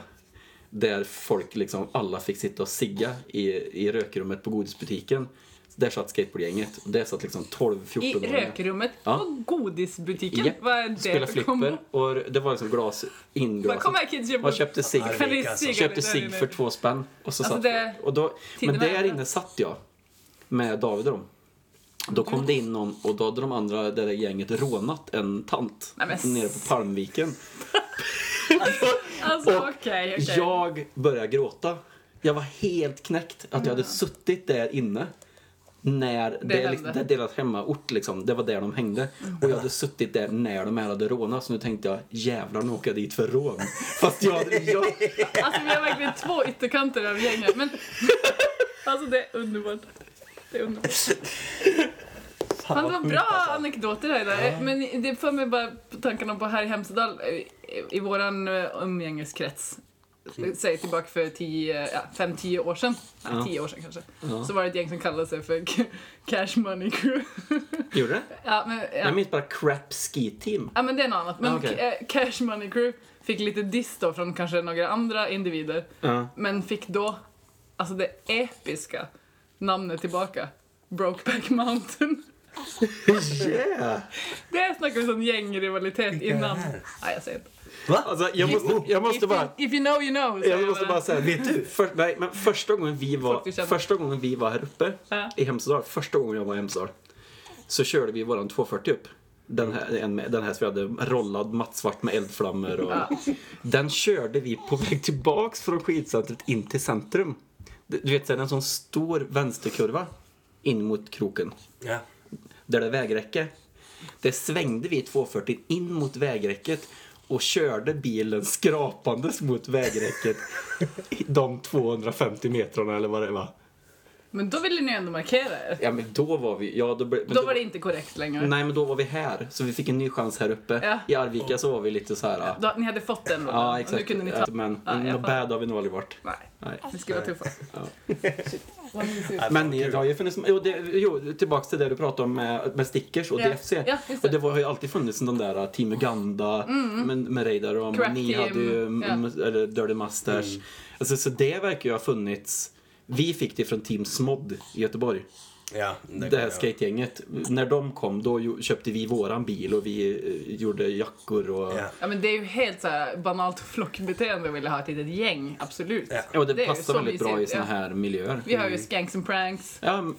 [SPEAKER 2] där folk liksom, alla fick sitta och sigga i, i rökrummet på godisbutiken. Där satt skateboardgänget. Och där satt liksom 12-14
[SPEAKER 1] I rökrummet
[SPEAKER 2] Ja.
[SPEAKER 1] på godisbutiken?
[SPEAKER 2] Japp,
[SPEAKER 1] Vad är det
[SPEAKER 2] spela
[SPEAKER 1] för kombo?
[SPEAKER 2] flipper. Och det var liksom glas, inglas.
[SPEAKER 1] Bara, Kom här kids, köp
[SPEAKER 2] Man köpte sig
[SPEAKER 3] Arvika,
[SPEAKER 1] Kan ni
[SPEAKER 3] alltså.
[SPEAKER 1] sigga
[SPEAKER 2] köpte
[SPEAKER 1] lite här
[SPEAKER 2] sig
[SPEAKER 1] inne?
[SPEAKER 2] för två spänn. Och så
[SPEAKER 1] Alltså,
[SPEAKER 2] satt,
[SPEAKER 1] det-
[SPEAKER 2] och då, men
[SPEAKER 1] tiden var
[SPEAKER 2] där
[SPEAKER 1] ändå.
[SPEAKER 2] inne satt jag med David och dem. Då kom det in någon och då hade de andra, det där gänget, rånat en tant
[SPEAKER 1] Nej, men-
[SPEAKER 2] nere på Palmviken.
[SPEAKER 1] Alltså
[SPEAKER 2] Och
[SPEAKER 1] okej, okej.
[SPEAKER 2] Jag började gråta. Jag var helt knäckt att
[SPEAKER 1] Mm.
[SPEAKER 2] jag hade suttit där inne när det, det,
[SPEAKER 1] hände. Mm.
[SPEAKER 2] liksom, det är deras hemmaort liksom, det var där de hängde. Och jag hade suttit där när de här hade rånat så nu tänkte jag jävlar nu åker jag dit för rån. Fast jag, hade- jag,
[SPEAKER 1] Alltså vi har verkligen två ytterkanter av gänget. Men... Alltså det är underbart. Det är underbart. Fan, det var
[SPEAKER 3] sjukt,
[SPEAKER 1] bra
[SPEAKER 3] alltså.
[SPEAKER 1] anekdoter här idag. Men det för mig bara på tankarna på här i Hemsedal, eh, i- i våran eh, umgängeskrets. eh, Säg tillbaka för 5-10 ja, fem, tio år sedan,
[SPEAKER 2] Ja.
[SPEAKER 1] ja. 10 år sedan kanske,
[SPEAKER 2] Ja.
[SPEAKER 1] så var det ett gäng som kallade sig för Cash Money Crew.
[SPEAKER 2] gjorde det?
[SPEAKER 1] ja, men, ja.
[SPEAKER 2] Jag minns bara crap ski team.
[SPEAKER 1] Ja men det är något annat. Men
[SPEAKER 2] Ah, okej.
[SPEAKER 1] K- eh, Cash Money Crew fick lite diss då från kanske några andra individer.
[SPEAKER 2] Ja.
[SPEAKER 1] Men fick då, alltså det episka namnet tillbaka. Brokeback Mountain.
[SPEAKER 2] Yeah.
[SPEAKER 1] Det snackar vi sån gängrivalitet
[SPEAKER 3] är det
[SPEAKER 1] innan.
[SPEAKER 3] här?
[SPEAKER 1] Nej jag säger inte.
[SPEAKER 3] Va?
[SPEAKER 2] Alltså, jag måste, jag måste
[SPEAKER 1] if,
[SPEAKER 2] bara...
[SPEAKER 1] you, if you know you know. säger
[SPEAKER 2] Jag måste
[SPEAKER 1] bara.
[SPEAKER 2] bara säga,
[SPEAKER 3] Vet du?
[SPEAKER 2] För, nej, men första gången vi
[SPEAKER 1] Folk vi
[SPEAKER 2] var,
[SPEAKER 1] känner.
[SPEAKER 2] första gången vi var här uppe
[SPEAKER 1] Ja.
[SPEAKER 2] i Hemsedal, första gången jag var i Hemsedal. Så körde vi våran 240 upp. Den här, en, med- den här som vi hade rollad mattsvart med eldflammor. Och, Den körde vi på väg tillbaks från skidcentret in till centrum. Du du vet, så är det en sån stor vänsterkurva in mot kroken
[SPEAKER 3] Ja.
[SPEAKER 2] där det är vägräcke. Det svängde vi 240 in mot vägräcket och körde bilen skrapandes mot vägräcket i de 250 metrarna eller vad det var.
[SPEAKER 1] Men då ville ni ju ändå markera er.
[SPEAKER 2] Ja men då var vi, ja då, ble, men
[SPEAKER 1] Då var det inte korrekt längre.
[SPEAKER 2] Nej men då var vi här, så vi fick en ny chans här uppe.
[SPEAKER 1] Ja.
[SPEAKER 2] I Arvika så var vi lite så här. Ja,
[SPEAKER 1] Då, ni hade fått den rollen,
[SPEAKER 2] ja
[SPEAKER 1] och
[SPEAKER 2] exakt.
[SPEAKER 1] nu kunde ni ta...
[SPEAKER 2] Ja, men
[SPEAKER 1] Ja, jag
[SPEAKER 2] något
[SPEAKER 1] fattar.
[SPEAKER 2] bad har vi nog aldrig varit.
[SPEAKER 1] Nej,
[SPEAKER 2] Nej.
[SPEAKER 1] ni skulle vara tuffa. Shit, vad mysigt.
[SPEAKER 2] Men det har ju funnits, jo, det, jo tillbaks till det du pratade om med, med stickers och
[SPEAKER 1] Ja.
[SPEAKER 2] DFC.
[SPEAKER 1] Ja, just det. Mm,
[SPEAKER 2] och det var, har ju alltid funnits de där uh, Team Uganda med, med Radar och
[SPEAKER 1] Crack
[SPEAKER 2] ni
[SPEAKER 1] Team,
[SPEAKER 2] hade ju
[SPEAKER 1] ja.
[SPEAKER 2] mm, eller Dirty Masters.
[SPEAKER 3] Mm.
[SPEAKER 2] Alltså, så det verkar ju ha funnits. Vi fick det från Team Smod i Göteborg,
[SPEAKER 3] ja
[SPEAKER 2] det,
[SPEAKER 3] kan
[SPEAKER 2] här
[SPEAKER 3] jag-
[SPEAKER 2] skategänget. När de kom då ju- köpte vi våran bil och vi eh, gjorde jackor och
[SPEAKER 3] Ja.
[SPEAKER 1] Ja, men det är ju helt så här banalt flockbeteende att vilja ha ett litet gäng, absolut.
[SPEAKER 3] Ja.
[SPEAKER 2] Ja, och det,
[SPEAKER 1] Det är ju
[SPEAKER 2] passar
[SPEAKER 1] så
[SPEAKER 2] väldigt bra i
[SPEAKER 1] mysigt,
[SPEAKER 2] såna
[SPEAKER 1] ja.
[SPEAKER 2] här miljöer.
[SPEAKER 1] Vi har ju skanks and pranks,
[SPEAKER 2] Ja, m-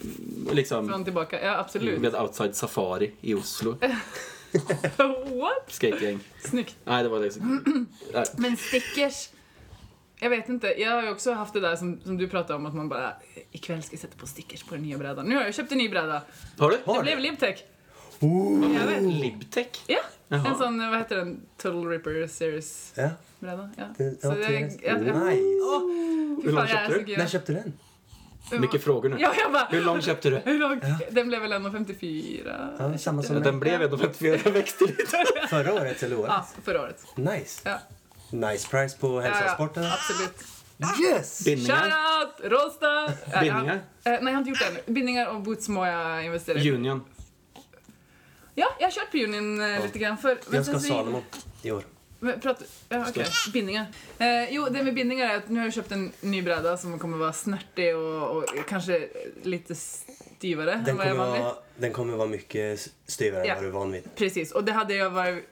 [SPEAKER 1] fram
[SPEAKER 2] liksom.
[SPEAKER 1] och tillbaka. Ja, absolut.
[SPEAKER 2] Vi hade Outside Safari i Oslo. Mm.
[SPEAKER 1] What?
[SPEAKER 2] Skategäng.
[SPEAKER 1] Snyggt.
[SPEAKER 2] Nej, det var liksom... Nej.
[SPEAKER 1] Men stickers. Jag vet inte, jag har ju också haft det där som, som du pratade om att man bara ikväll ska jag sätta på stickers på den nya brädan. Nu har jag köpt en ny bräda.
[SPEAKER 2] Har du?
[SPEAKER 1] Det
[SPEAKER 3] Har
[SPEAKER 1] blev
[SPEAKER 3] du?
[SPEAKER 1] Libtech.
[SPEAKER 3] Ooh.
[SPEAKER 1] Jag vet.
[SPEAKER 2] Libtech?
[SPEAKER 1] Ja,
[SPEAKER 2] Jaha.
[SPEAKER 1] en sån, vad heter den, Turtle Ripper Series
[SPEAKER 3] Ja.
[SPEAKER 1] bräda. Ja.
[SPEAKER 3] Det-
[SPEAKER 1] Så
[SPEAKER 3] ja,
[SPEAKER 1] det,
[SPEAKER 3] tillräckligt.
[SPEAKER 1] jag, jag,
[SPEAKER 3] Nice.
[SPEAKER 1] Åh,
[SPEAKER 2] Hur
[SPEAKER 1] fy
[SPEAKER 2] lång
[SPEAKER 1] fan, jag är
[SPEAKER 2] köpte
[SPEAKER 1] så
[SPEAKER 2] du?
[SPEAKER 1] gul.
[SPEAKER 3] När köpte du den?
[SPEAKER 2] Mycket frågor nu.
[SPEAKER 1] Ja, jag bara,
[SPEAKER 2] Hur lång köpte du?
[SPEAKER 1] hur lång? Den blev väl 1,54?
[SPEAKER 3] Ja, samma som
[SPEAKER 2] Alltså, Den
[SPEAKER 3] mig.
[SPEAKER 2] blev ändå 54 växter lite.
[SPEAKER 3] Förra året eller året?
[SPEAKER 1] Ja, förra året.
[SPEAKER 3] Nice.
[SPEAKER 1] Ja.
[SPEAKER 3] Nice price på
[SPEAKER 1] Ja, ja,
[SPEAKER 3] hälsosporten.
[SPEAKER 1] absolut.
[SPEAKER 3] Yes!
[SPEAKER 2] Bindningar?
[SPEAKER 1] Shoutout! Rosta! Ja,
[SPEAKER 2] Bindningar?
[SPEAKER 1] eh, nej, jag har inte gjort det ännu. Bindningar och boots må jag investera i.
[SPEAKER 2] Union.
[SPEAKER 1] Ja, jag har kört på Union eh, lite grann för...
[SPEAKER 3] Jag ska
[SPEAKER 1] sen
[SPEAKER 3] ha
[SPEAKER 1] så-
[SPEAKER 3] Salomo i år.
[SPEAKER 1] Men prat, ja, okej. Bindningar. Eh, jo, det med bindningar är att nu har jag köpt en ny bräda som kommer vara snärtig och, och kanske lite styvare än
[SPEAKER 3] Den
[SPEAKER 1] vad jag
[SPEAKER 3] kommer,
[SPEAKER 1] är van vid.
[SPEAKER 3] vara, den kommer vara mycket styvare
[SPEAKER 1] Ja.
[SPEAKER 3] än vad du är van vid.
[SPEAKER 1] Precis, och det hade jag varit...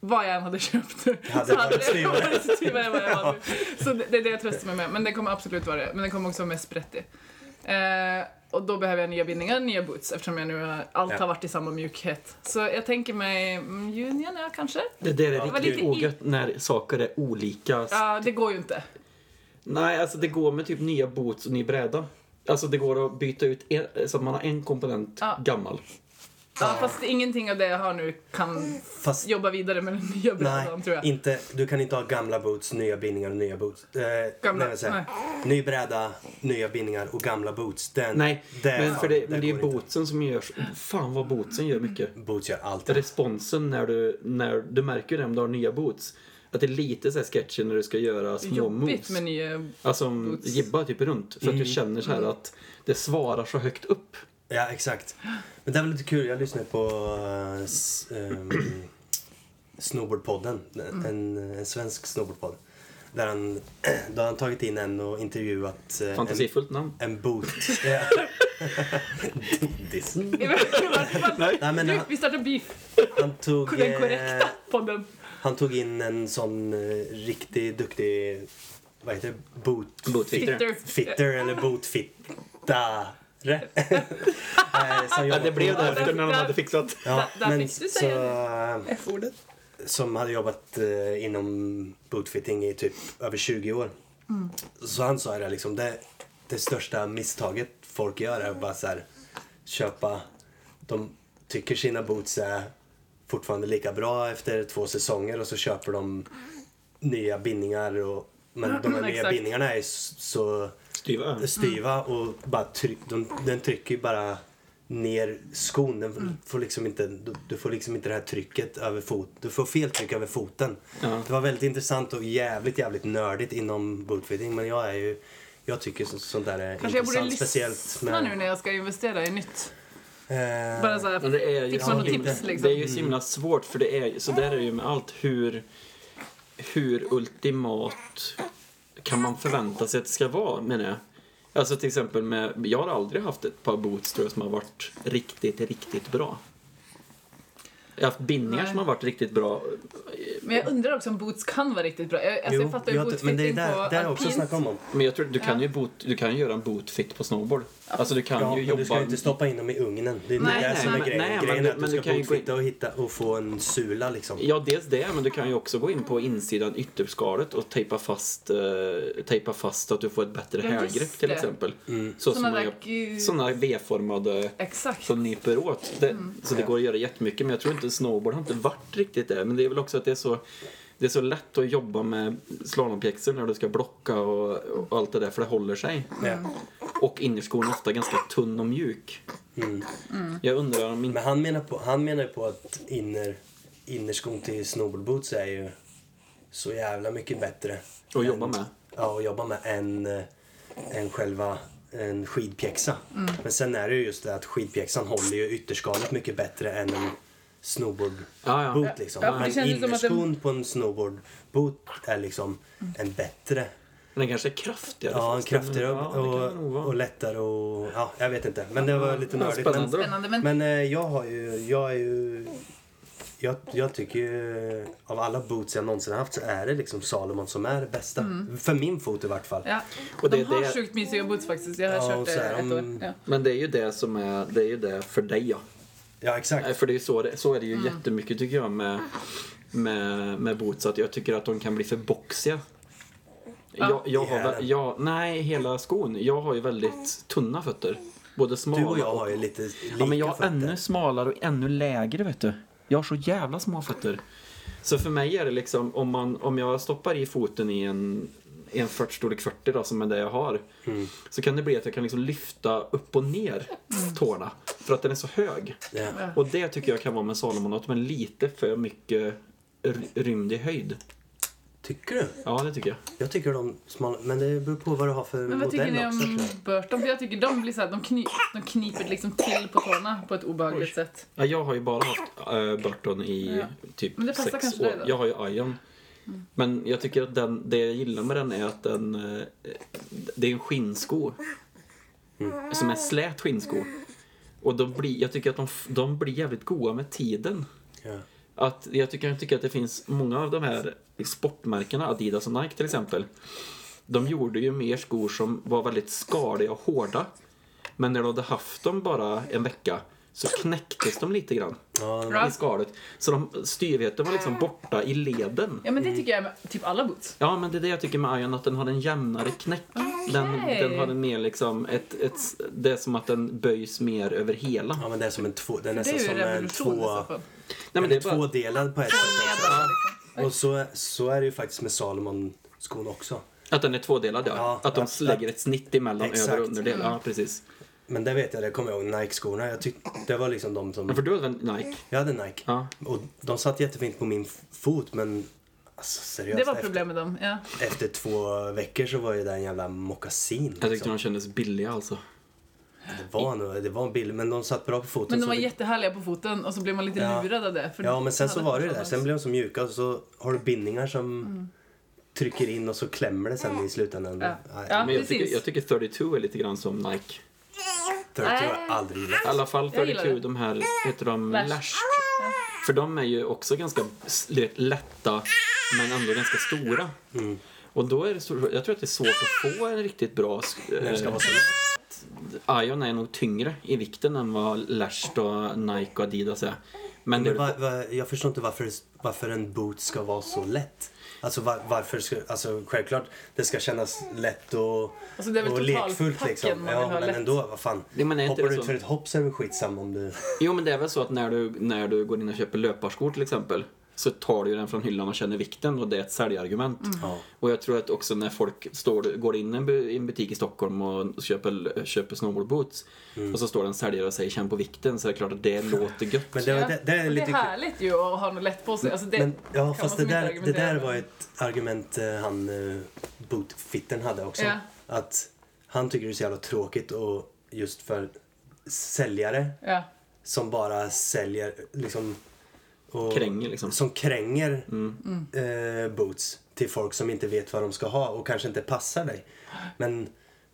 [SPEAKER 1] Vad jag än hade köpt
[SPEAKER 3] hade
[SPEAKER 1] så
[SPEAKER 3] varit
[SPEAKER 1] hade det
[SPEAKER 3] styvare.
[SPEAKER 1] varit styvare än vad jag var nu. Så det, det är det jag tröstar mig med. Men den kommer absolut vara det. Men den kommer också vara mer sprättig. Eh, och då behöver jag nya bindningar, nya boots eftersom jag nu har, allt
[SPEAKER 3] Ja.
[SPEAKER 1] har varit i samma mjukhet. Så jag tänker mig mm, Union, ja kanske?
[SPEAKER 2] Det där
[SPEAKER 1] Det
[SPEAKER 2] är
[SPEAKER 1] var
[SPEAKER 2] riktigt
[SPEAKER 1] lite i-
[SPEAKER 2] ogött när saker är olika.
[SPEAKER 1] Ja, det går ju inte.
[SPEAKER 2] Nej, alltså det går med typ nya boots och ny bräda. Alltså det går att byta ut en, så att man har en komponent
[SPEAKER 1] Ja.
[SPEAKER 2] gammal.
[SPEAKER 1] Ja, fast ingenting av det jag har nu kan
[SPEAKER 3] Fast
[SPEAKER 1] jobba vidare med den nya brädan tror jag.
[SPEAKER 3] nej, inte, du kan inte ha gamla boots, nya bindningar och nya boots. Eh,
[SPEAKER 1] Gamla,
[SPEAKER 3] nej, men så här, Ny bräda, nya bindningar och gamla boots. Den,
[SPEAKER 2] Nej,
[SPEAKER 3] det-
[SPEAKER 2] men för det,
[SPEAKER 3] fan,
[SPEAKER 2] men det är ju
[SPEAKER 3] går inte.
[SPEAKER 2] bootsen som görs. Fan vad bootsen gör mycket.
[SPEAKER 3] Boots gör allt.
[SPEAKER 2] responsen när du, när du märker det om du har nya boots. Att det är lite så här sketchy när du ska göra
[SPEAKER 1] Det är
[SPEAKER 2] små
[SPEAKER 1] Jobbigt
[SPEAKER 2] moves.
[SPEAKER 1] med nya...
[SPEAKER 2] Alltså om
[SPEAKER 1] boots.
[SPEAKER 2] jibba typ runt. För att du känner så här att det svarar så högt upp.
[SPEAKER 3] Ja, exakt. Men det var lite kul. Jag lyssnade på eh, s- ehm, Snowboardpodden.
[SPEAKER 1] Mm.
[SPEAKER 3] En, en svensk snowboardpodd. Där han, då har han tagit in en och intervjuat eh, en,
[SPEAKER 2] Fantasifullt namn.
[SPEAKER 3] en boot. Ja. Diss.
[SPEAKER 1] Nej.
[SPEAKER 3] Nej, men
[SPEAKER 1] Du,
[SPEAKER 3] han,
[SPEAKER 1] vi startar beef.
[SPEAKER 3] han, tog,
[SPEAKER 1] Den
[SPEAKER 3] eh,
[SPEAKER 1] korrekta podden.
[SPEAKER 3] han tog in en sån eh, riktigt duktig, vad heter det, boot...
[SPEAKER 2] Bootfitter.
[SPEAKER 1] Fitter.
[SPEAKER 3] Fitter eller bootfittare. Eh, som
[SPEAKER 2] Ja,
[SPEAKER 3] jobbar
[SPEAKER 2] det blev
[SPEAKER 3] på-
[SPEAKER 2] det efter när de hade fixat.
[SPEAKER 3] Ja,
[SPEAKER 1] Där- där
[SPEAKER 3] men
[SPEAKER 1] fick du
[SPEAKER 3] så, eh,
[SPEAKER 1] säga
[SPEAKER 2] F-ordet.
[SPEAKER 3] som hade jobbat eh, inom bootfitting i typ över 20 år. Så han sa det liksom, det, det största misstaget folk gör är bara så här, köpa, de tycker sina boots är fortfarande lika bra efter två säsonger och så köper de nya bindningar och men de här nya
[SPEAKER 1] Exakt.
[SPEAKER 3] bindningarna är s- så
[SPEAKER 2] Styva
[SPEAKER 1] Mm.
[SPEAKER 2] ön.
[SPEAKER 3] styva och bara tryck, de, den trycker ju bara ner skon. Den
[SPEAKER 1] Mm.
[SPEAKER 3] får liksom inte, du, du får liksom inte det här trycket över foten. Du får fel tryck över foten.
[SPEAKER 2] Ja.
[SPEAKER 3] Det var väldigt intressant och jävligt, jävligt nördigt inom bootfitting. Men jag är ju, jag tycker så, sånt där är
[SPEAKER 1] Kanske jag borde
[SPEAKER 3] intressant.
[SPEAKER 1] lyssna
[SPEAKER 3] speciellt
[SPEAKER 1] nu när jag ska investera i nytt.
[SPEAKER 3] eh,
[SPEAKER 1] Bara så här,
[SPEAKER 2] Men det är ju
[SPEAKER 1] fixa
[SPEAKER 2] ja,
[SPEAKER 1] något
[SPEAKER 2] lite-
[SPEAKER 1] tips liksom.
[SPEAKER 2] Det är ju så himla svårt för det är ju, så där är det ju med allt. Hur, hur ultimat kan man förvänta sig att det ska vara menar jag. Alltså till exempel med, jag har aldrig haft ett par boots tror jag som har varit riktigt, riktigt bra. Jag har haft bindningar som har varit riktigt bra.
[SPEAKER 1] Men jag undrar också om boots kan vara riktigt bra. Jag, alltså, jag fattar ju
[SPEAKER 3] jag- men det är
[SPEAKER 1] bootfitting på
[SPEAKER 3] där, där jag också
[SPEAKER 1] alpins.
[SPEAKER 3] snackar om. om.
[SPEAKER 2] Men jag tror du kan ju, boot, du kan ju göra en bootfit på snowboard. Alltså du kan
[SPEAKER 3] Ja,
[SPEAKER 2] ju
[SPEAKER 3] men du ska
[SPEAKER 2] jobba...
[SPEAKER 3] ju inte stoppa in dem i ugnen. Det är
[SPEAKER 1] Nej,
[SPEAKER 3] det som är
[SPEAKER 1] nej,
[SPEAKER 3] grejen.
[SPEAKER 2] nej, men
[SPEAKER 3] grejen
[SPEAKER 2] du-
[SPEAKER 3] är att
[SPEAKER 2] men
[SPEAKER 3] du
[SPEAKER 2] du
[SPEAKER 3] ska
[SPEAKER 2] kan ju gå in-
[SPEAKER 3] botfitta och hitta och få en sula liksom.
[SPEAKER 2] Ja, dels det, men du kan ju också gå in på insidan ytterskalet och tejpa fast, eh, tejpa fast så att du får ett bättre
[SPEAKER 1] Ja, just
[SPEAKER 2] härgrepp till
[SPEAKER 1] det.
[SPEAKER 2] exempel.
[SPEAKER 3] Mm.
[SPEAKER 2] Så
[SPEAKER 1] Såna
[SPEAKER 2] som man
[SPEAKER 1] där
[SPEAKER 2] gör,
[SPEAKER 1] gu-
[SPEAKER 2] såna V-formade
[SPEAKER 1] Exakt. Mm.
[SPEAKER 2] som nyper åt. Det, Så det går att göra jättemycket, men jag tror inte snowboard har inte varit riktigt det. Men det är väl också att det är så, det är så lätt att jobba med slalompjäxor när du ska blocka och, och allt det där, för det håller sig.
[SPEAKER 1] Mm.
[SPEAKER 3] Ja.
[SPEAKER 2] Och innerskon är ofta ganska tunn och mjuk.
[SPEAKER 3] Mm.
[SPEAKER 2] Jag undrar om inte...
[SPEAKER 3] Men han menar på, han menar ju på att inner, innerskon till snowboardboots är ju så jävla mycket bättre.
[SPEAKER 2] Att jobba med?
[SPEAKER 3] Ja, att jobba med än, eh, än själva en skidpjäxa.
[SPEAKER 1] Mm.
[SPEAKER 3] Men sen är det ju just det att skidpjäxan håller ju ytterskalet mycket bättre än en snowboardboot
[SPEAKER 2] Ja, ja.
[SPEAKER 3] liksom.
[SPEAKER 1] Ja, för det
[SPEAKER 3] Men
[SPEAKER 1] känns ju som att Mm.
[SPEAKER 3] innerskon på en snowboardboot är liksom en bättre
[SPEAKER 2] Den kanske är kraftigare.
[SPEAKER 3] Ja, en
[SPEAKER 2] fast den-
[SPEAKER 3] kraftigare
[SPEAKER 2] ja, det kan det nog
[SPEAKER 3] och,
[SPEAKER 2] vara.
[SPEAKER 3] och lättare och... Ja, jag vet inte. Men det var lite
[SPEAKER 2] Ja,
[SPEAKER 3] nördigt.
[SPEAKER 2] spännande.
[SPEAKER 3] Men,
[SPEAKER 1] Spännande, men,
[SPEAKER 3] men eh, jag har ju... Jag är ju... Jag, jag tycker ju, eh, av alla boots jag någonsin haft så är det liksom Salomon som är det bästa. För min fot i vart fall.
[SPEAKER 1] Mm. ja.
[SPEAKER 2] Och det-
[SPEAKER 1] de har
[SPEAKER 2] det-
[SPEAKER 1] sjukt mysiga boots faktiskt. Jag har
[SPEAKER 3] Ja, och
[SPEAKER 1] kört
[SPEAKER 3] så
[SPEAKER 1] det
[SPEAKER 3] här,
[SPEAKER 1] ett
[SPEAKER 3] om-
[SPEAKER 1] år. Ja.
[SPEAKER 2] Men det är ju det som är, det är ju det för dig ja.
[SPEAKER 3] Ja, exakt.
[SPEAKER 2] Nej, För det är ju så, det- så är det
[SPEAKER 1] Mm.
[SPEAKER 2] ju jättemycket tycker jag med, med, med boots, att jag tycker att de kan bli för boxiga. Jag, jag har, vä-
[SPEAKER 3] Jävlar.
[SPEAKER 2] jag, nej, hela skon. Jag har ju väldigt tunna fötter. Både smala
[SPEAKER 3] Du och jag har ju lite lika
[SPEAKER 2] Ja, men jag har
[SPEAKER 3] fötter.
[SPEAKER 2] ännu smalare och ännu lägre, vet du. Jag har så jävla små fötter. Så för mig är det liksom, om, man, om jag stoppar i foten i en, i en 40, storlek 40 då, som är det jag har, så kan det bli att jag kan liksom lyfta upp och ner tårna, för att den är så hög.
[SPEAKER 3] Ja.
[SPEAKER 2] Och det tycker jag kan vara med Salomon, att de är lite för mycket r- rymd i höjd.
[SPEAKER 3] Tycker du?
[SPEAKER 2] Ja, det tycker jag.
[SPEAKER 3] Jag tycker de smala... Men det beror på vad du har för
[SPEAKER 1] Men vad tycker
[SPEAKER 3] modell
[SPEAKER 1] ni
[SPEAKER 3] också.
[SPEAKER 1] om
[SPEAKER 3] tror jag.
[SPEAKER 1] Burton? För jag tycker de blir så här, de, kny, de kniper liksom till på tårna på ett obehagligt sätt.
[SPEAKER 2] Ja, jag har ju bara haft äh, Burton i
[SPEAKER 1] Ja.
[SPEAKER 2] typ
[SPEAKER 1] Men det passar
[SPEAKER 2] sex
[SPEAKER 1] kanske
[SPEAKER 2] år.
[SPEAKER 1] dig då?
[SPEAKER 2] Jag har ju Ion. Men jag tycker att den, det jag gillar med den är att den... eh, Det är en skinnsko. Som är slät skinnsko. Och de blir, jag tycker att de, f- de blir jävligt goa med tiden.
[SPEAKER 3] Ja.
[SPEAKER 2] Att jag tycker, jag tycker att det finns många av de här sportmärkena, Adidas och Nike till exempel. De gjorde ju mer skor som var väldigt skaliga och hårda. Men när de hade haft dem bara en vecka så knäcktes de lite grann
[SPEAKER 3] Ja,
[SPEAKER 1] Bra.
[SPEAKER 2] i skalet. Så de, styvheten var liksom borta i leden.
[SPEAKER 1] Ja
[SPEAKER 3] Mm.
[SPEAKER 1] men det tycker jag med typ alla boots.
[SPEAKER 2] Ja, men det är det jag tycker med Ion, att den har en jämnare knäck. Den, den har en mer liksom, ett, ett, det är som att den böjs mer över hela.
[SPEAKER 3] ja, men det är som en två... Det är
[SPEAKER 1] Det
[SPEAKER 3] nästan
[SPEAKER 1] är ju
[SPEAKER 3] som en
[SPEAKER 1] revolution i så
[SPEAKER 3] två...
[SPEAKER 1] fall.
[SPEAKER 2] Nej, men det är bara,
[SPEAKER 3] Tvådelad på ett sätt. också.
[SPEAKER 1] Ja,
[SPEAKER 3] Och så, så är det ju faktiskt med Salomon-skon också.
[SPEAKER 2] Att den är tvådelad, ja.
[SPEAKER 3] Ja,
[SPEAKER 2] att de
[SPEAKER 3] att-
[SPEAKER 2] lägger ett snitt emellan
[SPEAKER 3] Exakt.
[SPEAKER 2] över och underdel.
[SPEAKER 1] Mm.
[SPEAKER 2] Ja, precis.
[SPEAKER 3] Men det vet jag, det kommer jag ihåg, Nike-skorna. Jag tyck, det var liksom de
[SPEAKER 2] Men
[SPEAKER 3] som...
[SPEAKER 2] för du hade väl Nike?
[SPEAKER 3] Jag hade Nike.
[SPEAKER 2] Ja.
[SPEAKER 3] Och de satt jättefint på min f- fot, men alltså, seriöst.
[SPEAKER 1] Det var
[SPEAKER 3] efter,
[SPEAKER 1] problem med dem. Ja.
[SPEAKER 3] efter två veckor så var ju det en jävla mockasin.
[SPEAKER 2] Jag tyckte
[SPEAKER 3] liksom.
[SPEAKER 2] de kändes billiga alltså.
[SPEAKER 3] Det var nog, det var en bild, men de satt bra på foten.
[SPEAKER 1] Men de
[SPEAKER 3] så
[SPEAKER 1] var
[SPEAKER 3] det-
[SPEAKER 1] jättehärliga på foten och så blev man lite
[SPEAKER 3] Ja.
[SPEAKER 1] lurad av det. För
[SPEAKER 3] Ja, men sen
[SPEAKER 1] de
[SPEAKER 3] så
[SPEAKER 1] hade
[SPEAKER 3] var det ju
[SPEAKER 1] inte
[SPEAKER 3] det.
[SPEAKER 1] alls.
[SPEAKER 3] Sen blev de så mjuka och så har du bindningar som trycker in och så klämmer det sen i slutändan.
[SPEAKER 1] Mm. Ja.
[SPEAKER 3] Nej,
[SPEAKER 1] Ja.
[SPEAKER 2] Men jag tycker,
[SPEAKER 1] precis.
[SPEAKER 2] jag tycker 32 är lite grann som Nike.
[SPEAKER 3] Turtle har jag aldrig gillat.
[SPEAKER 2] I alla fall
[SPEAKER 1] Jag gillar
[SPEAKER 2] 32,
[SPEAKER 1] det.
[SPEAKER 2] de här, heter de
[SPEAKER 1] Lash.
[SPEAKER 2] Lash? För de är ju också ganska du vet, lätta, men ändå ganska stora.
[SPEAKER 3] Mm.
[SPEAKER 2] Och då är det så, jag tror att det är svårt att få en riktigt bra... sk-
[SPEAKER 3] Det ska
[SPEAKER 2] eh,
[SPEAKER 3] vara så.
[SPEAKER 2] Ion är nog tyngre i vikten än vad Lash och Nike och Adidas är. Men
[SPEAKER 3] Men
[SPEAKER 2] det,
[SPEAKER 3] va, va, jag förstår inte varför, varför en boot ska vara så lätt. Alltså var, varför ska, alltså självklart det ska kännas lätt och,
[SPEAKER 1] Alltså, det är väl
[SPEAKER 3] och lekfullt
[SPEAKER 1] totalpacken
[SPEAKER 3] liksom.
[SPEAKER 1] man vill
[SPEAKER 3] Ja,
[SPEAKER 1] ha
[SPEAKER 3] men
[SPEAKER 1] lätt.
[SPEAKER 3] ändå, vad fan.
[SPEAKER 2] Ja, men är inte
[SPEAKER 3] Hoppar
[SPEAKER 2] det
[SPEAKER 3] du ut
[SPEAKER 2] så?
[SPEAKER 3] för ett hopp så är det väl skitsamma om du...
[SPEAKER 2] jo men det är väl så att när du, när du går in och köper löparskor till exempel så tar du ju den från hyllan och känner vikten och det är ett säljargument.
[SPEAKER 1] Mm.
[SPEAKER 3] Ja.
[SPEAKER 2] Och jag tror att också när folk står, går in i en bu- i en butik i Stockholm och köper, köper snowboardboots
[SPEAKER 3] Mm.
[SPEAKER 2] och så står det en säljare och säger känn på vikten så är det klart att det låter gött.
[SPEAKER 3] Men det,
[SPEAKER 1] Ja.
[SPEAKER 3] var- det, det är
[SPEAKER 1] Och
[SPEAKER 3] lite
[SPEAKER 1] det är
[SPEAKER 3] kul.
[SPEAKER 1] härligt ju att ha något lätt på sig. Alltså, det
[SPEAKER 3] Men,
[SPEAKER 1] kan
[SPEAKER 3] ja,
[SPEAKER 1] man
[SPEAKER 3] fast
[SPEAKER 1] som
[SPEAKER 3] det
[SPEAKER 1] inte
[SPEAKER 3] där, det
[SPEAKER 1] argumentera
[SPEAKER 3] där
[SPEAKER 1] med.
[SPEAKER 3] var ett argument eh, han eh, bootfitten hade också.
[SPEAKER 1] Ja.
[SPEAKER 3] Att han tycker det är så jävla tråkigt och just för säljare
[SPEAKER 1] Ja.
[SPEAKER 3] som bara säljer liksom och,
[SPEAKER 2] Kränger, liksom. Mm.
[SPEAKER 3] Som kränger Eh, boots till folk som inte vet vad de ska ha och kanske inte passar dig. Men eh,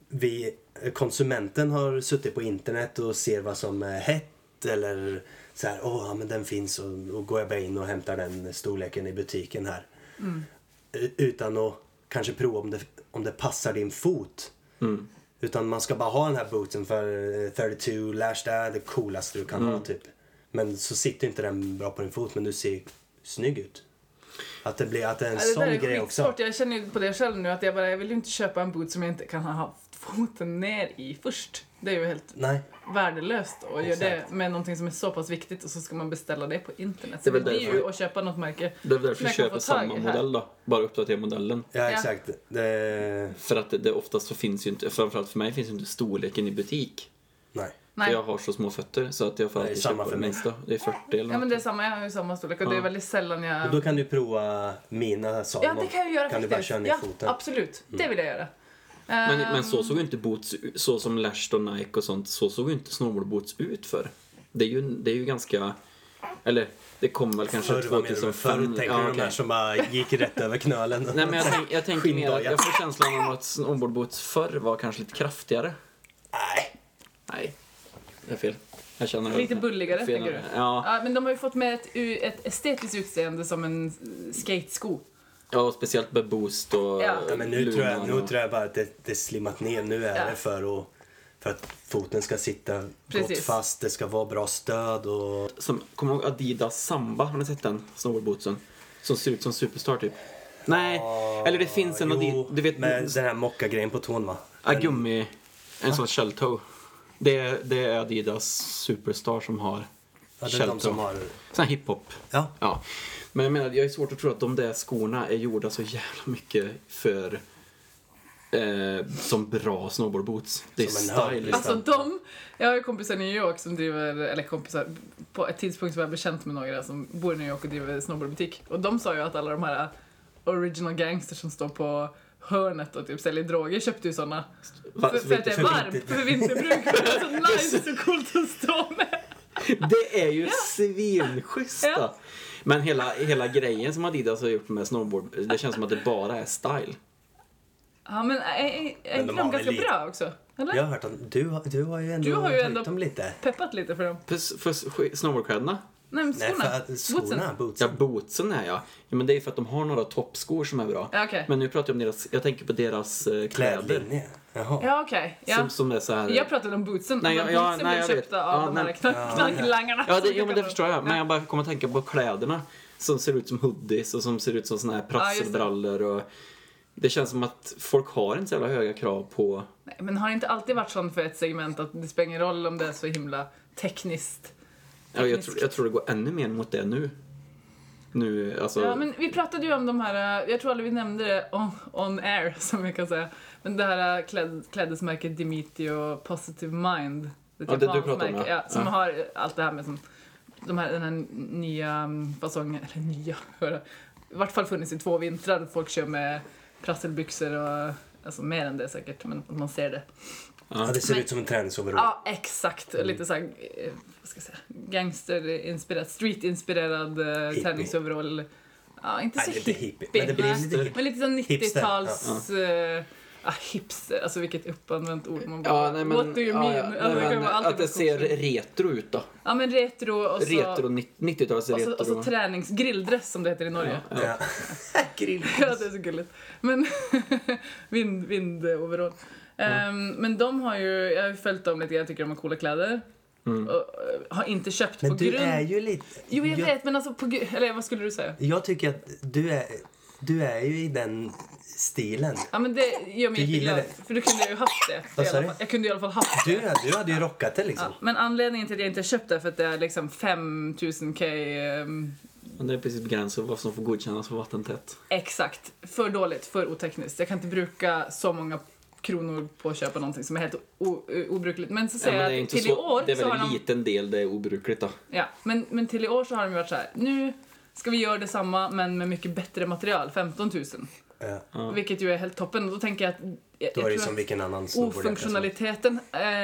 [SPEAKER 3] vi, konsumenten har suttit på internet och ser vad som är hett eller så här, åh, ja, men den finns och, och går jag bara in och hämtar den storleken i butiken här. U- Utan att kanske prova om det, om det passar din fot. Utan man ska bara ha den här bootsen för eh, 32 lash, det är det coolaste du kan
[SPEAKER 2] Mm.
[SPEAKER 3] ha typ. Men så sitter inte den bra på din fot men du ser snygg ut. Att det blir, att det är en
[SPEAKER 1] Ja,
[SPEAKER 3] sån
[SPEAKER 1] det där är
[SPEAKER 3] grej också.
[SPEAKER 1] skitsvårt. Jag känner ju på det själv nu att jag bara, jag vill ju inte köpa en boot som jag inte kan ha haft foten ner i först. Det är ju helt
[SPEAKER 3] Nej.
[SPEAKER 1] värdelöst att göra det
[SPEAKER 3] Exakt.
[SPEAKER 1] med någonting som är så pass viktigt och så ska man beställa det på internet.
[SPEAKER 2] Det
[SPEAKER 1] Så
[SPEAKER 2] är
[SPEAKER 1] det
[SPEAKER 2] väl
[SPEAKER 1] blir ju
[SPEAKER 2] därför-
[SPEAKER 1] att köpa något märke.
[SPEAKER 2] Det är
[SPEAKER 1] som
[SPEAKER 2] därför
[SPEAKER 1] jag
[SPEAKER 2] vi
[SPEAKER 1] kan få
[SPEAKER 2] köper samma
[SPEAKER 1] tag i här.
[SPEAKER 2] modell då. Bara uppdatera modellen.
[SPEAKER 3] Ja,
[SPEAKER 1] Ja.
[SPEAKER 3] exakt. Det...
[SPEAKER 2] För att det- det oftast så finns ju inte, framförallt för mig finns ju inte storleken i butik.
[SPEAKER 3] Nej.
[SPEAKER 2] För
[SPEAKER 1] Nej.
[SPEAKER 2] jag har så små fötter så att jag får
[SPEAKER 3] Nej,
[SPEAKER 2] alltid
[SPEAKER 3] samma
[SPEAKER 2] köpa det
[SPEAKER 3] för mig.
[SPEAKER 2] minsta. Det är 40 eller
[SPEAKER 1] Ja men
[SPEAKER 2] något.
[SPEAKER 1] det är samma, jag har ju samma storlek och det är
[SPEAKER 2] Ja.
[SPEAKER 1] väldigt sällan
[SPEAKER 3] Men då
[SPEAKER 1] jag...
[SPEAKER 3] kan du prova mina Salomon.
[SPEAKER 1] Ja det kan jag göra
[SPEAKER 3] Kan du bara
[SPEAKER 1] faktiskt.
[SPEAKER 3] köra ner
[SPEAKER 1] ja,
[SPEAKER 3] foten. Mm.
[SPEAKER 1] absolut. Det vill jag göra.
[SPEAKER 2] Men,
[SPEAKER 1] Ehm,
[SPEAKER 2] men så såg ju inte boots, ut- så som Lash och Nike och sånt, så såg ju inte snowboardboots ut för. Det är ju, det är ju ganska, eller det kom väl kanske
[SPEAKER 3] Förr, vad menar du?
[SPEAKER 2] 2005.
[SPEAKER 3] Förr tänker
[SPEAKER 2] ja,
[SPEAKER 3] du de
[SPEAKER 2] okej.
[SPEAKER 3] här som bara gick rätt över knölen.
[SPEAKER 2] Nej men jag, tänk, jag tänker mer att
[SPEAKER 3] Skinndagar.
[SPEAKER 2] jag får känslan av att snowboardboots förr var kanske lite kraftigare.
[SPEAKER 3] Nej.
[SPEAKER 2] Nej, det är fel. Jag känner
[SPEAKER 1] Lite bulligare,
[SPEAKER 2] fel.
[SPEAKER 1] tänker du?
[SPEAKER 2] Ja,
[SPEAKER 1] Ja, men de har ju fått med ett, u- ett estetiskt utseende som en eh, skatesko.
[SPEAKER 2] ja och speciellt med boost och
[SPEAKER 1] Ja.
[SPEAKER 3] Ja, men nu,
[SPEAKER 2] Luna
[SPEAKER 3] tror jag, nu
[SPEAKER 2] och-
[SPEAKER 3] tror jag bara att det, det är slimmat ner. Nu är
[SPEAKER 1] Ja.
[SPEAKER 3] det för att, för att foten ska sitta gott
[SPEAKER 1] Precis.
[SPEAKER 3] fast, det ska vara bra stöd och...
[SPEAKER 2] som, kommer du ihåg Adidas Samba? Har ni sett den snowboardbootsen? Som ser ut som Superstar typ. Nej, eller det finns en Adidas,
[SPEAKER 3] Jo,
[SPEAKER 2] du vet,
[SPEAKER 3] med den här mockagrejen på tån va?
[SPEAKER 2] ja, gummi, en sån shell toe. Det, är- det är Adidas Superstar som har
[SPEAKER 3] Ja, det är
[SPEAKER 2] shell
[SPEAKER 3] de som
[SPEAKER 2] toe.
[SPEAKER 3] har...
[SPEAKER 2] Sån här hiphop.
[SPEAKER 3] Ja.
[SPEAKER 2] Ja. Men jag menar, jag är svårt att tro att de där skorna är gjorda så jävla mycket för eh, som bra snowboardboots. Det är
[SPEAKER 3] Som en hög-
[SPEAKER 2] style.
[SPEAKER 1] Alltså de, jag har ju kompisar i New York som driver, eller kompisar, på ett tidspunkt så var jag bekänt med några som bor i New York och driver snowboardbutik. Och de sa ju att alla de här original gangsters som står på hörnet och typ säljer droger köpte ju såna.
[SPEAKER 2] Va,
[SPEAKER 1] För, för att det är
[SPEAKER 3] för
[SPEAKER 1] varmt,
[SPEAKER 3] vinter-
[SPEAKER 1] för vinterbruk. Det är så nice, så coolt att stå med.
[SPEAKER 3] liksom.
[SPEAKER 2] Det är ju svinschysst!
[SPEAKER 1] Ja.
[SPEAKER 2] då. Men hela, hela grejen som Adidas har gjort med snowboard, det känns som att det bara är style.
[SPEAKER 1] Ja men är, är, är
[SPEAKER 3] Men
[SPEAKER 1] inte
[SPEAKER 3] de
[SPEAKER 1] de
[SPEAKER 3] har väl
[SPEAKER 1] ganska
[SPEAKER 3] lite-
[SPEAKER 1] bra också? Eller?
[SPEAKER 3] Jag har hört att du, har- du har ju ändå
[SPEAKER 1] Du har ju
[SPEAKER 3] höjt
[SPEAKER 1] ändå-
[SPEAKER 3] dem lite.
[SPEAKER 1] Peppat lite för dem.
[SPEAKER 2] För, för sk- snowboardkläderna?
[SPEAKER 1] Nej men
[SPEAKER 3] Nej,
[SPEAKER 1] skorna.
[SPEAKER 3] för att
[SPEAKER 1] Bootsen.
[SPEAKER 3] skorna,
[SPEAKER 2] Ja,
[SPEAKER 3] bootsen.
[SPEAKER 2] bootsen är jag. Ja, men det är för att de har några toppskor som är bra.
[SPEAKER 1] Ja, okej.
[SPEAKER 2] Men nu pratar jag om deras, jag tänker på deras eh, kläder.
[SPEAKER 3] Klädlinje. Jaha.
[SPEAKER 1] Ja okej. Ja.
[SPEAKER 2] Som, som är så här...
[SPEAKER 1] Jag pratade om bootsen.
[SPEAKER 2] Nej,
[SPEAKER 1] Nej,
[SPEAKER 2] ja, ja,
[SPEAKER 1] jag, bootsen
[SPEAKER 2] nej,
[SPEAKER 1] blev
[SPEAKER 2] jag
[SPEAKER 1] köpta
[SPEAKER 2] vet.
[SPEAKER 1] av
[SPEAKER 2] Ja,
[SPEAKER 1] de
[SPEAKER 2] nej.
[SPEAKER 1] här Alltså, knack,
[SPEAKER 3] Ja.
[SPEAKER 1] knacklangarna.
[SPEAKER 2] Ja,
[SPEAKER 1] som
[SPEAKER 2] det,
[SPEAKER 1] vi
[SPEAKER 2] jo, men
[SPEAKER 1] kallar
[SPEAKER 2] det
[SPEAKER 1] dem.
[SPEAKER 2] förstår jag. Men jag bara kommer att tänka på kläderna som ser ut som hoodies och som ser ut som såna här prasselbrallor. Och det känns som att folk har inte så jävla höga krav på...
[SPEAKER 1] Nej, men har det inte alltid varit sånt för ett segment att det spelar ingen roll om det är så himla tekniskt?
[SPEAKER 2] Ja, jag, tror, jag tror det går ännu mer mot det nu. Nu, alltså...
[SPEAKER 1] Ja, men vi pratade ju om de här, eh, jag tror aldrig vi nämnde det on, on air som vi kan säga, men det här eh, kläd, klädesmärket Dimitri och Positive Mind.
[SPEAKER 2] Ja, det du
[SPEAKER 1] japanskt
[SPEAKER 2] pratar om,
[SPEAKER 1] märke,
[SPEAKER 2] ja.
[SPEAKER 1] ja. Som
[SPEAKER 2] Ja.
[SPEAKER 1] har eh, allt det här med som, de här, den här nya mm, fasongen, eller nya, hörru. i vart fall funnits i två vintrar. Folk kör med prasselbyxor och, alltså mer än det säkert, men att man ser det.
[SPEAKER 3] Ja, det ser
[SPEAKER 1] Men-
[SPEAKER 3] ut som en träningsoverall.
[SPEAKER 1] Ja, exakt.
[SPEAKER 3] Mm.
[SPEAKER 1] Lite så här, eh, vad ska jag säga, gangsterinspirerad, streetinspirerad eh,
[SPEAKER 3] Hippie.
[SPEAKER 1] träningsoverall. Ja, inte
[SPEAKER 3] Nej,
[SPEAKER 1] så
[SPEAKER 3] det är inte hippie, men det blir
[SPEAKER 1] nej.
[SPEAKER 3] lite hippie.
[SPEAKER 1] Men lite sån
[SPEAKER 3] Hipster,
[SPEAKER 1] 90-tals... eh, ah, hipster, alltså vilket uppanvänt ord man bara...
[SPEAKER 2] Ja, nej, men,
[SPEAKER 1] What do you
[SPEAKER 2] ja,
[SPEAKER 1] mean?
[SPEAKER 2] ja,
[SPEAKER 1] Alltså,
[SPEAKER 2] nej,
[SPEAKER 1] det kan Alltså-
[SPEAKER 2] men,
[SPEAKER 1] vara allt
[SPEAKER 2] att det ser
[SPEAKER 1] möjligt konstigt.
[SPEAKER 2] retro ut då.
[SPEAKER 1] Ja, men retro och så...
[SPEAKER 2] Retro, 90-tals
[SPEAKER 1] och
[SPEAKER 2] retro.
[SPEAKER 1] så, och så tränings... Grilldress som det heter i Norge. Ja,
[SPEAKER 3] Ja.
[SPEAKER 1] det är så gulligt. Men... vind, vind overall. Ehm, men de har ju... Jag har ju följt dem lite, jag tycker de har coola kläder. Och, eh, har inte köpt
[SPEAKER 3] Mm. Men
[SPEAKER 1] på
[SPEAKER 3] du
[SPEAKER 1] grund...
[SPEAKER 3] är ju lite...
[SPEAKER 1] Jo, jag
[SPEAKER 3] jag-
[SPEAKER 1] vet, men alltså på gr- Eller vad skulle du säga?
[SPEAKER 3] Jag tycker att du är, du är ju i den stilen.
[SPEAKER 1] Ja, men det gör mig
[SPEAKER 3] Du gillar
[SPEAKER 1] jätteglad. För då kunde jag ju haft det.
[SPEAKER 3] Vad
[SPEAKER 1] i
[SPEAKER 3] sa
[SPEAKER 1] alla
[SPEAKER 3] du?
[SPEAKER 1] fall. Jag kunde i alla fall haft
[SPEAKER 3] Du, är- du hade ju rockat det
[SPEAKER 1] Ja,
[SPEAKER 3] liksom.
[SPEAKER 1] men anledningen till att jag inte har köpt det är för att det är liksom 5000k ehm,
[SPEAKER 2] Men det är precis begränsat vad som får godkännas för vattentätt.
[SPEAKER 1] exakt. För dåligt, för otekniskt. Jag kan inte bruka så många kronor på att köpa någonting som är helt o- o- obrukligt. Men så
[SPEAKER 2] Ja,
[SPEAKER 1] säger
[SPEAKER 2] men det, är
[SPEAKER 1] jag att
[SPEAKER 2] inte
[SPEAKER 1] till
[SPEAKER 2] så,
[SPEAKER 1] i år
[SPEAKER 2] det är väl
[SPEAKER 1] så har
[SPEAKER 2] en
[SPEAKER 1] de...
[SPEAKER 2] liten del det är obrukligt då.
[SPEAKER 1] Ja, men, men till i år så har de varit så här. Nu ska vi göra detsamma men med mycket bättre material, 15 000.
[SPEAKER 3] Ja.
[SPEAKER 1] Vilket ju är helt toppen. Och då tänker jag att... Jag, jag
[SPEAKER 3] Då är
[SPEAKER 1] tror
[SPEAKER 3] det
[SPEAKER 1] att-
[SPEAKER 3] som liksom vilken annan snowboardare alltså, som-
[SPEAKER 1] Ofunktionaliteten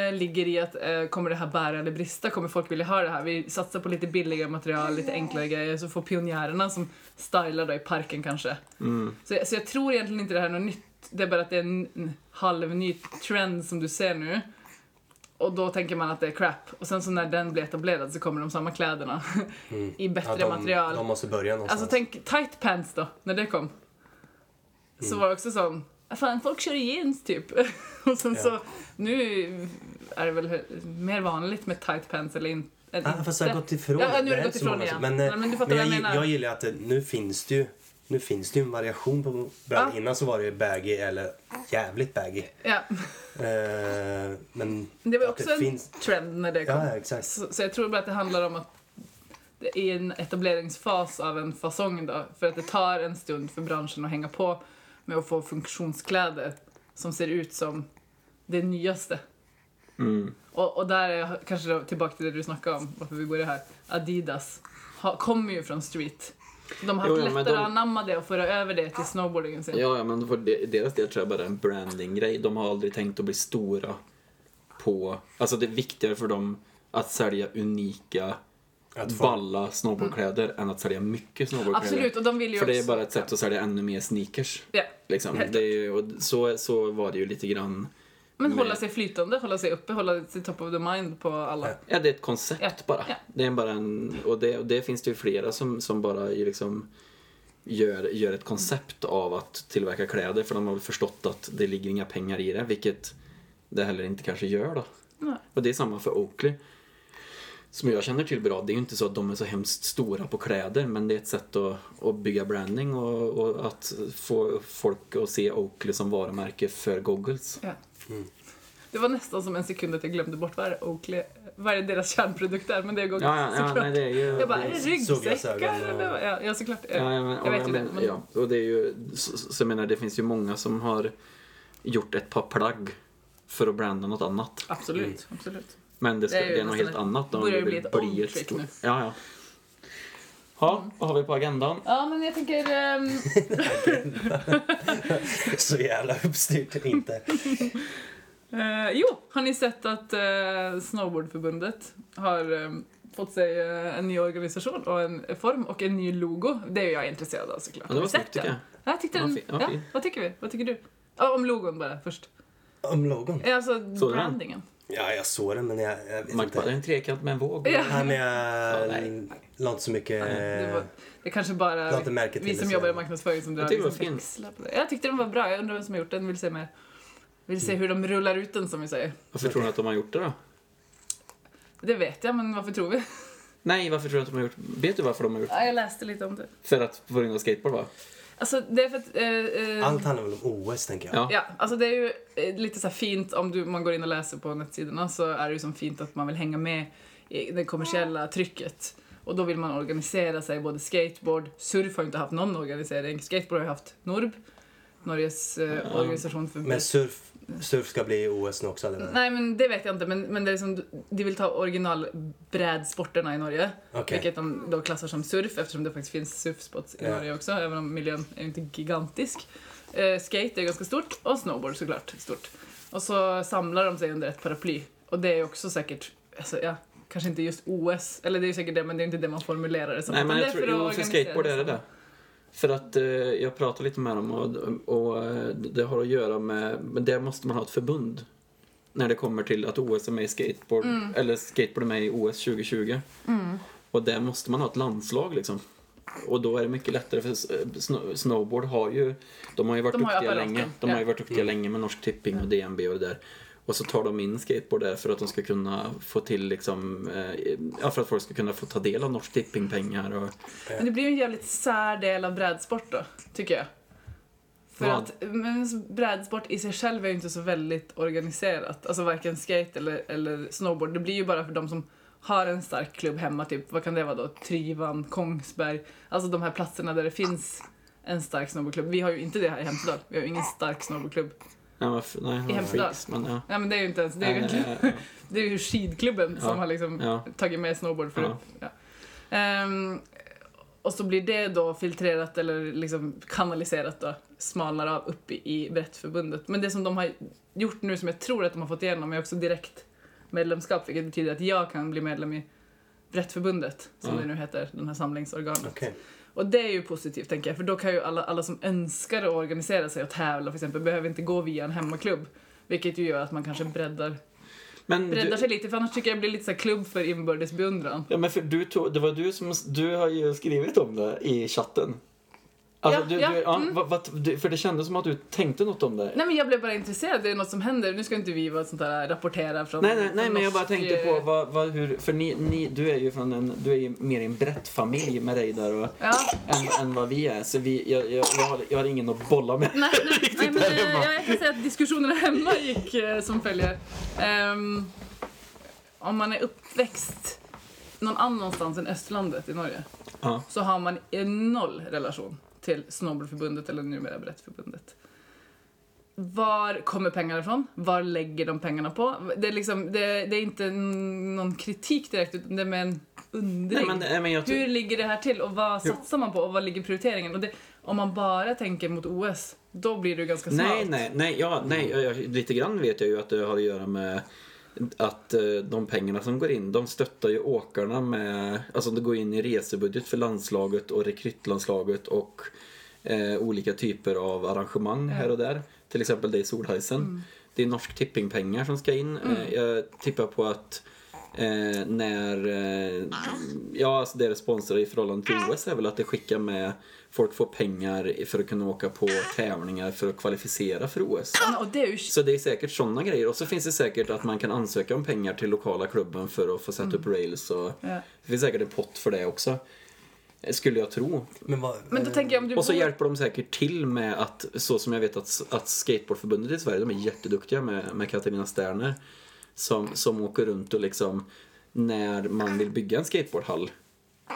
[SPEAKER 1] eh, ligger i att eh, kommer det här bära eller brista? Kommer folk vilja ha det här? Vi satsar på lite billigare material, lite enklare grejer, så får pionjärerna som stylar då i parken kanske.
[SPEAKER 3] Mm.
[SPEAKER 1] Så, så jag tror egentligen inte det här är något nytt. Det är bara att det är en, en halv ny trend som du ser nu. Och då tänker man att det är crap. Och sen så när den blir etablerad så kommer de samma kläderna i bättre
[SPEAKER 3] Mm. Ja, de,
[SPEAKER 1] material.
[SPEAKER 3] De måste börja någonstans.
[SPEAKER 1] Alltså tänk tight pants då, när det kom.
[SPEAKER 3] Mm.
[SPEAKER 1] Så var det också sån, "Ah, fan folk kör i jeans typ. och sen
[SPEAKER 3] Ja.
[SPEAKER 1] så, nu är det väl mer vanligt med tight pants eller in, än
[SPEAKER 3] Ah, fast det har gått ifrån.
[SPEAKER 1] Ja, nu har det
[SPEAKER 3] är
[SPEAKER 1] gått
[SPEAKER 3] så
[SPEAKER 1] ifrån
[SPEAKER 3] många
[SPEAKER 1] igen.
[SPEAKER 3] som- Men, eh,
[SPEAKER 1] Ja, men du fattar vad
[SPEAKER 3] jag,
[SPEAKER 1] jag
[SPEAKER 3] gi-
[SPEAKER 1] menar.
[SPEAKER 3] jag gillar att det, nu finns det ju nu finns det ju en variation på brallor.
[SPEAKER 1] Ja.
[SPEAKER 3] Innan så var det ju baggy eller jävligt baggy.
[SPEAKER 1] Ja.
[SPEAKER 3] Eh, men
[SPEAKER 1] Det var
[SPEAKER 3] att
[SPEAKER 1] också
[SPEAKER 3] det
[SPEAKER 1] en
[SPEAKER 3] finns...
[SPEAKER 1] trend när det kom.
[SPEAKER 3] Ja, ja, exakt.
[SPEAKER 1] Så, så jag tror bara att det handlar om att det är en etableringsfas av en fasong då. För att det tar en stund för branschen att hänga på med att få funktionskläder som ser ut som det nyaste.
[SPEAKER 2] Mm.
[SPEAKER 1] Och, och där är jag kanske då tillbaka till det du snackade om, varför vi började här. Adidas ha, kommer ju från street. De har
[SPEAKER 2] Jo,
[SPEAKER 1] haft
[SPEAKER 2] ja, men
[SPEAKER 1] lättare
[SPEAKER 2] de-
[SPEAKER 1] att anamma det och föra över det till snowboardingen sen.
[SPEAKER 2] Ja, ja, men för de- deras del tror jag bara det är en branding-grej. De har aldrig tänkt att bli stora på... Alltså det är viktigare för dem att sälja unika,
[SPEAKER 3] Att få-
[SPEAKER 2] balla snowboardkläder än att sälja mycket snowboardkläder.
[SPEAKER 1] Mm. Absolut, och de vill ju
[SPEAKER 2] För det är
[SPEAKER 1] också-
[SPEAKER 2] bara ett sätt att sälja ännu mer sneakers.
[SPEAKER 1] Ja.
[SPEAKER 2] Liksom.
[SPEAKER 1] Helt
[SPEAKER 2] Det är ju, och så, så var det ju lite grann.
[SPEAKER 1] Men
[SPEAKER 2] med-
[SPEAKER 1] hålla sig flytande, hålla sig uppe, hålla sig top of the mind på alla.
[SPEAKER 3] Ja.
[SPEAKER 2] Ja, det är ett koncept
[SPEAKER 1] Ja,
[SPEAKER 2] bara.
[SPEAKER 1] ja.
[SPEAKER 2] Det är bara en, och, det, och det finns det ju flera som, som bara är liksom gör, gör ett koncept av att tillverka kläder för de har väl förstått att det ligger inga pengar i det, vilket det heller inte kanske gör då.
[SPEAKER 1] Nej.
[SPEAKER 2] Och det är samma för Oakley. Som jag känner till bra, det är ju inte så att de är så hemskt stora på kläder men det är ett sätt att, att bygga branding och, och att få folk att se Oakley som varumärke för goggles.
[SPEAKER 1] Ja.
[SPEAKER 2] Mm.
[SPEAKER 1] Det var nästan som en sekund att jag glömde bort vad är Oakley, vad är deras kärnprodukt är, men det är Google
[SPEAKER 2] Ja, ja, ja,
[SPEAKER 1] såklart.
[SPEAKER 2] nej, det är ju...
[SPEAKER 1] jag bara, är det ryggsäckar?
[SPEAKER 3] Solglasögon och-
[SPEAKER 1] eller vad- Ja, ja, såklart.
[SPEAKER 2] Ja, ja, men,
[SPEAKER 1] jag vet ju
[SPEAKER 2] men,
[SPEAKER 1] det. Men,
[SPEAKER 2] ja. Och det är ju, så, så jag menar, det finns ju många som har gjort ett par plagg för att branda något annat.
[SPEAKER 1] Absolut, absolut.
[SPEAKER 2] Men det, ska,
[SPEAKER 1] Det
[SPEAKER 2] det
[SPEAKER 1] är
[SPEAKER 2] är,
[SPEAKER 1] ju
[SPEAKER 2] något
[SPEAKER 1] nästan
[SPEAKER 2] helt
[SPEAKER 1] ett-
[SPEAKER 2] annat. om
[SPEAKER 1] börjar
[SPEAKER 2] du
[SPEAKER 1] det bli
[SPEAKER 2] vill
[SPEAKER 1] ett old trick
[SPEAKER 2] stort-
[SPEAKER 1] nu. Mm.
[SPEAKER 2] Ja, ja. Ja, vad har vi på agendan?
[SPEAKER 1] Ja, men jag tänker... ehm,
[SPEAKER 3] Så jävla uppstyrt inte.
[SPEAKER 1] eh, jo, har ni sett att eh, Snowboardförbundet har ehm, fått sig eh, en ny organisation och en form och en ny logo? Det är jag intresserad av såklart.
[SPEAKER 2] Ja,
[SPEAKER 1] Har
[SPEAKER 2] det var
[SPEAKER 1] ni sett
[SPEAKER 2] snyggt tycker jag.
[SPEAKER 1] Ja, jag tyckte
[SPEAKER 2] Det var
[SPEAKER 1] den...
[SPEAKER 2] fin- ja,
[SPEAKER 1] ja,
[SPEAKER 2] fin.
[SPEAKER 1] vad tycker vi? Vad tycker du? Ja, om logon bara först.
[SPEAKER 3] Om logon.
[SPEAKER 1] Eh, Alltså
[SPEAKER 2] Såg du den?
[SPEAKER 1] brandingen.
[SPEAKER 3] Ja, jag såg den men jag, jag vet
[SPEAKER 2] Man
[SPEAKER 3] inte.
[SPEAKER 2] bara, det är en trekant med en våg.
[SPEAKER 1] Ja.
[SPEAKER 3] Nej, men
[SPEAKER 2] Ja,
[SPEAKER 3] jag
[SPEAKER 2] nej.
[SPEAKER 3] la inte eh, så mycket...
[SPEAKER 1] Det, var, det kanske bara
[SPEAKER 3] la inte märke till
[SPEAKER 1] vi
[SPEAKER 3] det
[SPEAKER 1] som
[SPEAKER 3] så
[SPEAKER 1] jobbar i
[SPEAKER 3] jävla.
[SPEAKER 1] marknadsföring som drar
[SPEAKER 2] tyckte det var
[SPEAKER 1] liksom
[SPEAKER 2] fin.
[SPEAKER 1] växlar på det. Jag tyckte den var bra. Jag undrar vem som har gjort den. Vill se mer. Vill se hur de rullar ut den som vi säger.
[SPEAKER 2] Varför tror ni att de har gjort det då?
[SPEAKER 1] Det vet jag, men varför tror vi?
[SPEAKER 2] Nej, varför tror du att de har gjort Vet du varför de har gjort det?
[SPEAKER 1] Ja, jag läste lite om det.
[SPEAKER 2] För att på grund av skateboard va?
[SPEAKER 1] Alltså, det är för att... Eh, eh,
[SPEAKER 3] Allt handlar väl om OS, tänker jag.
[SPEAKER 2] Ja.
[SPEAKER 1] Ja, alltså det är ju eh, lite så här fint om du, man går in och läser på nätsidorna så är det ju som fint att man vill hänga med i det kommersiella trycket. Och då vill man organisera sig, både skateboard, surf har ju inte haft någon organisering, skateboard har ju haft NORB, Norges eh, organisation för...
[SPEAKER 3] Men surf, surf ska bli OS nu också, eller?
[SPEAKER 1] Nej men det vet jag inte, men, men det är som, de vill ta originalbrädsporterna i Norge.
[SPEAKER 3] Okej.
[SPEAKER 1] Vilket de då klassar som surf eftersom det faktiskt finns surfspots i
[SPEAKER 3] Ja.
[SPEAKER 1] Norge också, även om miljön är inte gigantisk. Eh, skate är ganska stort och snowboard såklart stort. Och så samlar de sig under ett paraply. Och det är också säkert, alltså, ja, kanske inte just OS, eller det är ju säkert det men det är inte det man formulerar det som.
[SPEAKER 2] Nej, men
[SPEAKER 1] utan
[SPEAKER 2] jag
[SPEAKER 1] det
[SPEAKER 2] tror,
[SPEAKER 1] är att
[SPEAKER 2] jo, för
[SPEAKER 1] organisera
[SPEAKER 2] skateboard är det det. För att eh, jag pratar lite med dem och, och eh, det har att göra med, men där måste man ha ett förbund. När det kommer till att OS är med i skateboard,
[SPEAKER 1] Mm.
[SPEAKER 2] eller skateboard är med i OS 2020. Och där måste man ha ett landslag liksom. Och då är det mycket lättare för s- eh, sno- snowboard har ju, de har ju varit
[SPEAKER 1] De har ju
[SPEAKER 2] duktiga
[SPEAKER 1] apparaten,
[SPEAKER 2] länge. De
[SPEAKER 1] ja.
[SPEAKER 2] har ju varit duktiga länge med Norsk Tipping och DNB och det där. Och så tar de in skateboard där för att de ska kunna få till liksom, eh, ja, för att folk ska kunna få ta del av Norsk Tipping-pengar och
[SPEAKER 1] Men det blir ju en jävligt sär del av brädsport då, tycker jag. För
[SPEAKER 2] Vad?
[SPEAKER 1] att men brädsport i sig själv är ju inte så väldigt organiserat. Alltså varken skate eller, eller snowboard. Det blir ju bara för de som har en stark klubb hemma, typ vad kan det vara då? Trivan, Kongsberg. Alltså de här platserna där det finns en stark snowboardklubb. Vi har ju inte det här i Hemsedal. Vi har ju ingen stark snowboardklubb.
[SPEAKER 2] Nej, men f- nej, han var
[SPEAKER 1] Hemsedal.
[SPEAKER 2] freaks, men ja.
[SPEAKER 1] Nej men det är ju inte ens, det är ju,
[SPEAKER 2] Nej,
[SPEAKER 1] egentligen-
[SPEAKER 2] nej, nej,
[SPEAKER 1] det är ju skidklubben
[SPEAKER 2] Ja,
[SPEAKER 1] som har liksom
[SPEAKER 2] ja.
[SPEAKER 1] tagit med snowboard förut. Ja. Ehm, och så blir det då filtrerat eller liksom kanaliserat då, smalare av upp i, i Brettförbundet. Men det som de har gjort nu som jag tror att de har fått igenom är också direkt medlemskap vilket betyder att jag kan bli medlem i Brettförbundet som
[SPEAKER 2] Mm.
[SPEAKER 1] det nu heter, den här samlingsorganet.
[SPEAKER 3] Okej.
[SPEAKER 1] Och det är ju positivt tänker jag, för då kan ju alla, alla som önskar att organisera sig och tävla för exempel behöver inte gå via en hemmaklubb. Vilket ju gör att man kanske breddar
[SPEAKER 2] Men
[SPEAKER 1] breddar
[SPEAKER 2] du,
[SPEAKER 1] sig lite, för annars tycker jag det blir lite så här klubb för inbördes beundran.
[SPEAKER 2] ja, men för du tog, det var du som, du har ju skrivit om det i chatten. Alltså,
[SPEAKER 1] Ja,
[SPEAKER 2] du,
[SPEAKER 1] ja,
[SPEAKER 2] du, ja,
[SPEAKER 1] mm.
[SPEAKER 2] vad- vad- du, för det kändes som att du tänkte något om det.
[SPEAKER 1] Nej men jag blev bara intresserad, det är något som händer. Nu ska inte vi vara sånt där rapportera från
[SPEAKER 2] Nej, nej, nej
[SPEAKER 1] från
[SPEAKER 2] men jag bara
[SPEAKER 1] norsk,
[SPEAKER 2] tänkte
[SPEAKER 1] eh,
[SPEAKER 2] på vad, vad, hur, för ni, ni, du är ju från en, du är ju mer i en brett familj med dig där och,
[SPEAKER 1] Ja,
[SPEAKER 2] än, än vad vi är. Så vi, jag, jag, jag, har, jag har ingen att bolla med.
[SPEAKER 1] nej, nej, nej men eh, jag kan säga att diskussionerna hemma gick eh, som följer. Ehm, om man är uppväxt någon annanstans än Östlandet i Norge
[SPEAKER 2] Ja.
[SPEAKER 1] så har man eh, noll relation till Snowboardförbundet eller numera Brettförbundet. Var kommer pengarna ifrån? Var lägger de pengarna på? Det är, liksom, det, det är inte n- någon kritik direkt utan det är med en undring.
[SPEAKER 2] Nej, men, nej, men jag,
[SPEAKER 1] Hur ligger det här till och vad satsar man på och vad ligger prioriteringen? Och det, om man bara tänker mot OS, då blir det ju ganska smalt.
[SPEAKER 2] Nej,
[SPEAKER 1] Mm.
[SPEAKER 2] nej, nej, ja, nej jag, jag, lite grann vet jag ju att det har att göra med att eh, de pengarna som går in, de stöttar ju åkarna med, alltså det går in i resebudget för landslaget och rekrytlandslaget och eh, olika typer av arrangemang här och där. Till exempel det i Solheisen.
[SPEAKER 1] Mm.
[SPEAKER 2] Det är norsk tippingpengar som ska in. Eh, jag tippar på att Eh, när, eh, ja alltså deras sponsorer i förhållande till OS är väl att det skickar med folk får pengar för att kunna åka på tävlingar för att kvalificera för OS.
[SPEAKER 1] Ja, Och det är ju
[SPEAKER 2] Så det är säkert sådana grejer och så finns det säkert att man kan ansöka om pengar till lokala klubben för att få sätta upp rails och
[SPEAKER 1] Ja.
[SPEAKER 2] det finns säkert en pott för det också. eh, Skulle jag tro.
[SPEAKER 3] Men vad, eh,
[SPEAKER 1] Men då tänker jag om du
[SPEAKER 2] Och så
[SPEAKER 1] bor-
[SPEAKER 2] hjälper de säkert till med att, så som jag vet att, att Skateboardförbundet i Sverige, de är jätteduktiga med, med Katarina Sterner. Som, som åker runt och liksom, när man vill bygga en skateboardhall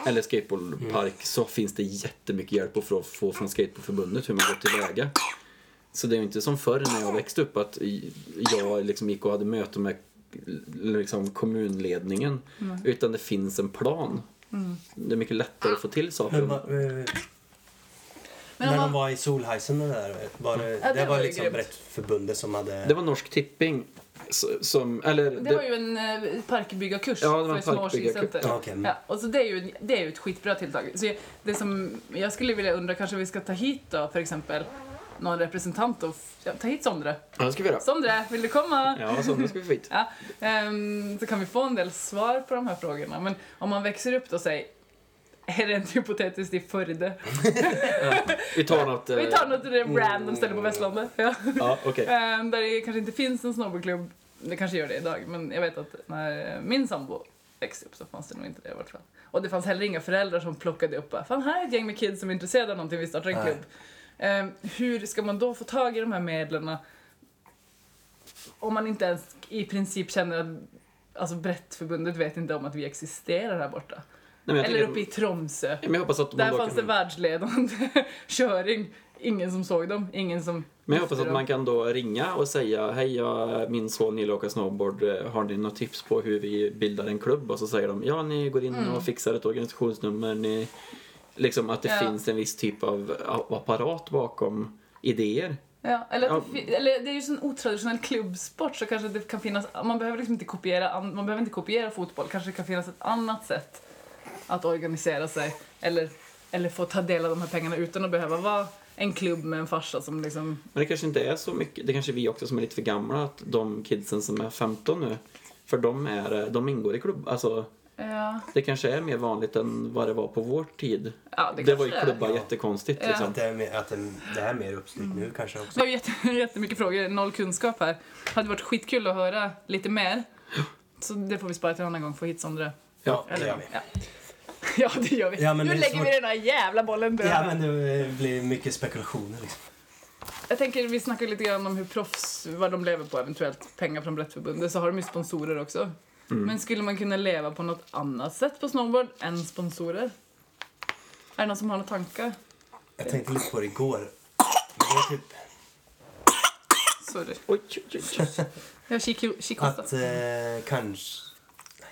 [SPEAKER 2] eller skateboardpark så finns det jättemycket hjälp att få, få från Skateboardförbundet hur man går tillväga. Så det är ju inte som förr när jag växte upp att i- jag liksom gick och hade möte med liksom kommunledningen.
[SPEAKER 1] Mm.
[SPEAKER 2] Utan det finns en plan. Det är mycket lättare att få till saker.
[SPEAKER 3] men
[SPEAKER 2] om-
[SPEAKER 3] vad, eh,
[SPEAKER 1] Men
[SPEAKER 3] när
[SPEAKER 1] om man-
[SPEAKER 3] de var i Solheisen och det där, var det,
[SPEAKER 1] Ja,
[SPEAKER 3] det,
[SPEAKER 1] det
[SPEAKER 3] var,
[SPEAKER 1] var ju
[SPEAKER 3] liksom
[SPEAKER 1] grymt.
[SPEAKER 3] Brettförbundet som hade...
[SPEAKER 2] Det var Norsk Tipping s- som, eller...
[SPEAKER 1] Det var ju en eh, parkbyggarkurs
[SPEAKER 2] Ja, det var en
[SPEAKER 1] för små
[SPEAKER 2] parkbyggarkurs.
[SPEAKER 1] årscenter.
[SPEAKER 3] Ja, okej.
[SPEAKER 1] Ja, och så det är ju, det är ju ett skitbra tilltag. Så jag- det som jag skulle vilja undra, kanske vi ska ta hit då för exempel någon representant och f- ja, ta hit Sondre.
[SPEAKER 2] Ja, det ska vi göra.
[SPEAKER 1] Sondre, vill du komma?
[SPEAKER 2] Ja, så nu ska vi få hit.
[SPEAKER 1] Ja, ehm, så kan vi få en del svar på de här frågorna. Men om man växer upp då, säg, är det inte hypotetiskt i Förde?
[SPEAKER 2] Vi tar något... eh,
[SPEAKER 1] Vi tar något random ställe på västlandet. Ja.
[SPEAKER 2] Ja, okej.
[SPEAKER 1] Ehm, där det kanske inte finns en snowboardklubb. Det kanske gör det idag, men jag vet att när eh, min sambo växte upp så fanns det nog inte det i vart fall. Och det fanns heller inga föräldrar som plockade upp bara, fan här är ett gäng med kids som är intresserade av någonting, vi startar en
[SPEAKER 3] Nej.
[SPEAKER 1] klubb. Ehm, hur ska man då få tag i de här medlen om man inte ens i princip känner att Alltså Brettförbundet vet inte om att vi existerar här borta.
[SPEAKER 2] Nej, men jag
[SPEAKER 1] Eller
[SPEAKER 2] tänker-
[SPEAKER 1] uppe i Tromsö.
[SPEAKER 2] Ja, Men jag hoppas att man
[SPEAKER 1] Där
[SPEAKER 2] då
[SPEAKER 1] fanns det
[SPEAKER 2] kan...
[SPEAKER 1] världsledande köring. Ingen som såg dem, ingen som...
[SPEAKER 2] Men jag hoppas att man kan då ringa och säga Hej, jag, min son gillar att åka snowboard. Eh, Har ni något tips på hur vi bildar en klubb? Och så säger de ja, ni går in
[SPEAKER 1] Mm.
[SPEAKER 2] och fixar ett organisationsnummer. Ni... Liksom att det
[SPEAKER 1] Ja.
[SPEAKER 2] finns en viss typ av av apparat bakom idéer.
[SPEAKER 1] Ja, eller, att
[SPEAKER 2] Ja.
[SPEAKER 1] Det, fi- eller det är ju en otraditionell klubbsport så kanske det kan finnas... Man behöver liksom inte kopiera, an- man behöver inte kopiera fotboll. Kanske det kan finnas ett annat sätt att organisera sig eller, eller få ta del av de här pengarna utan att behöva vara en klubb med en farsa som liksom...
[SPEAKER 2] Men det kanske inte är så mycket, det kanske är vi också som är lite för gamla, att de kidsen som är 15 nu, för de, är, de ingår i klubb, alltså
[SPEAKER 1] Ja,
[SPEAKER 2] det kanske är mer vanligt än vad det var på vår tid.
[SPEAKER 1] ja det,
[SPEAKER 2] Det var ju
[SPEAKER 1] kanske är.
[SPEAKER 2] klubbar jättekonstigt
[SPEAKER 1] Ja.
[SPEAKER 2] liksom.
[SPEAKER 3] Att, det är mer, att det, det här är mer uppstyrt
[SPEAKER 1] Mm.
[SPEAKER 3] nu kanske också.
[SPEAKER 1] Det var jätte- jättemycket frågor, noll kunskap här. Det hade varit skitkul att höra lite mer. Så det får vi spara till en annan gång, få hit Sondre.
[SPEAKER 2] Ja.
[SPEAKER 3] det gör vi.
[SPEAKER 1] Ja. ja, det gör vi.
[SPEAKER 3] Ja, men
[SPEAKER 1] nu
[SPEAKER 3] det är
[SPEAKER 1] lägger vi
[SPEAKER 3] svårt.
[SPEAKER 1] den här jävla bollen död.
[SPEAKER 3] Ja, men det blir mycket spekulationer liksom.
[SPEAKER 1] Jag tänker vi snackar lite grann om hur proffs, vad de lever på, eventuellt pengar från Brettförbundet, så har de ju sponsorer också. Men skulle man kunna leva på något annat sätt på snowboard än sponsorer? Är det någon som har några tankar?
[SPEAKER 3] Jag tänkte lite på det igår. Det är typ
[SPEAKER 1] Sorry.
[SPEAKER 2] Oj, oj, oj, oj.
[SPEAKER 1] Jag kik- kikhosta.
[SPEAKER 3] att eh, kanske...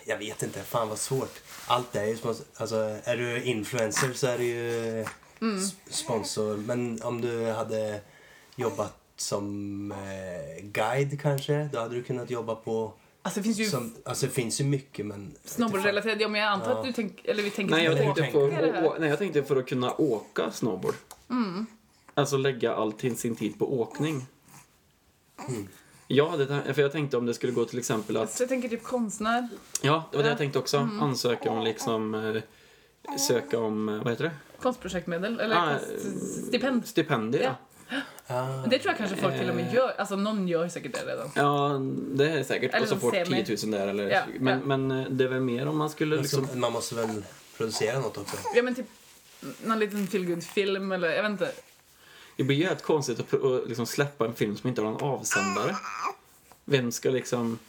[SPEAKER 3] Jag vet inte, fan vad svårt. Allt är ju sponsor... Alltså, är du influencer så är du ju s- sponsor. Men om du hade jobbat som eh, guide kanske, då hade du kunnat jobba på...
[SPEAKER 1] Alltså det finns ju
[SPEAKER 3] Som, alltså det finns ju mycket men...
[SPEAKER 1] snowboardrelaterade, ja men jag antar
[SPEAKER 3] Ja.
[SPEAKER 1] att du tänker, eller vi tänker typ-
[SPEAKER 2] Nej, jag
[SPEAKER 1] som
[SPEAKER 2] tänkte på,
[SPEAKER 1] åkare här. Mm.
[SPEAKER 2] å, nej, jag tänkte för att kunna åka snowboard. Alltså lägga all till sin tid på åkning. Ja, det där, för jag tänkte om det skulle gå till exempel att
[SPEAKER 1] Så jag tänker typ konstnär.
[SPEAKER 2] Ja, det var det jag tänkte också.
[SPEAKER 1] Mm.
[SPEAKER 2] Ansöka om liksom eh, söka om, eh, vad heter det?
[SPEAKER 1] Konstprojektmedel eller
[SPEAKER 2] Ah,
[SPEAKER 1] konst- stipend.
[SPEAKER 2] Stipendier. Ja.
[SPEAKER 3] Ah.
[SPEAKER 1] Det tror jag kanske folk till och med gör. Alltså någon gör säkert det redan.
[SPEAKER 2] ja, det är säkert.
[SPEAKER 1] Eller
[SPEAKER 2] och så
[SPEAKER 1] som
[SPEAKER 2] får
[SPEAKER 1] semi.
[SPEAKER 2] 10 000 där eller
[SPEAKER 1] Ja,
[SPEAKER 2] men,
[SPEAKER 1] ja.
[SPEAKER 2] men eh, det är väl mer om man skulle liksom...
[SPEAKER 3] Man måste väl producera något också?
[SPEAKER 1] Ja men typ någon liten feelgood-film eller jag vet inte.
[SPEAKER 2] Det blir jävligt konstigt att, pro- att liksom släppa en film som inte har någon avsändare. Vem ska liksom...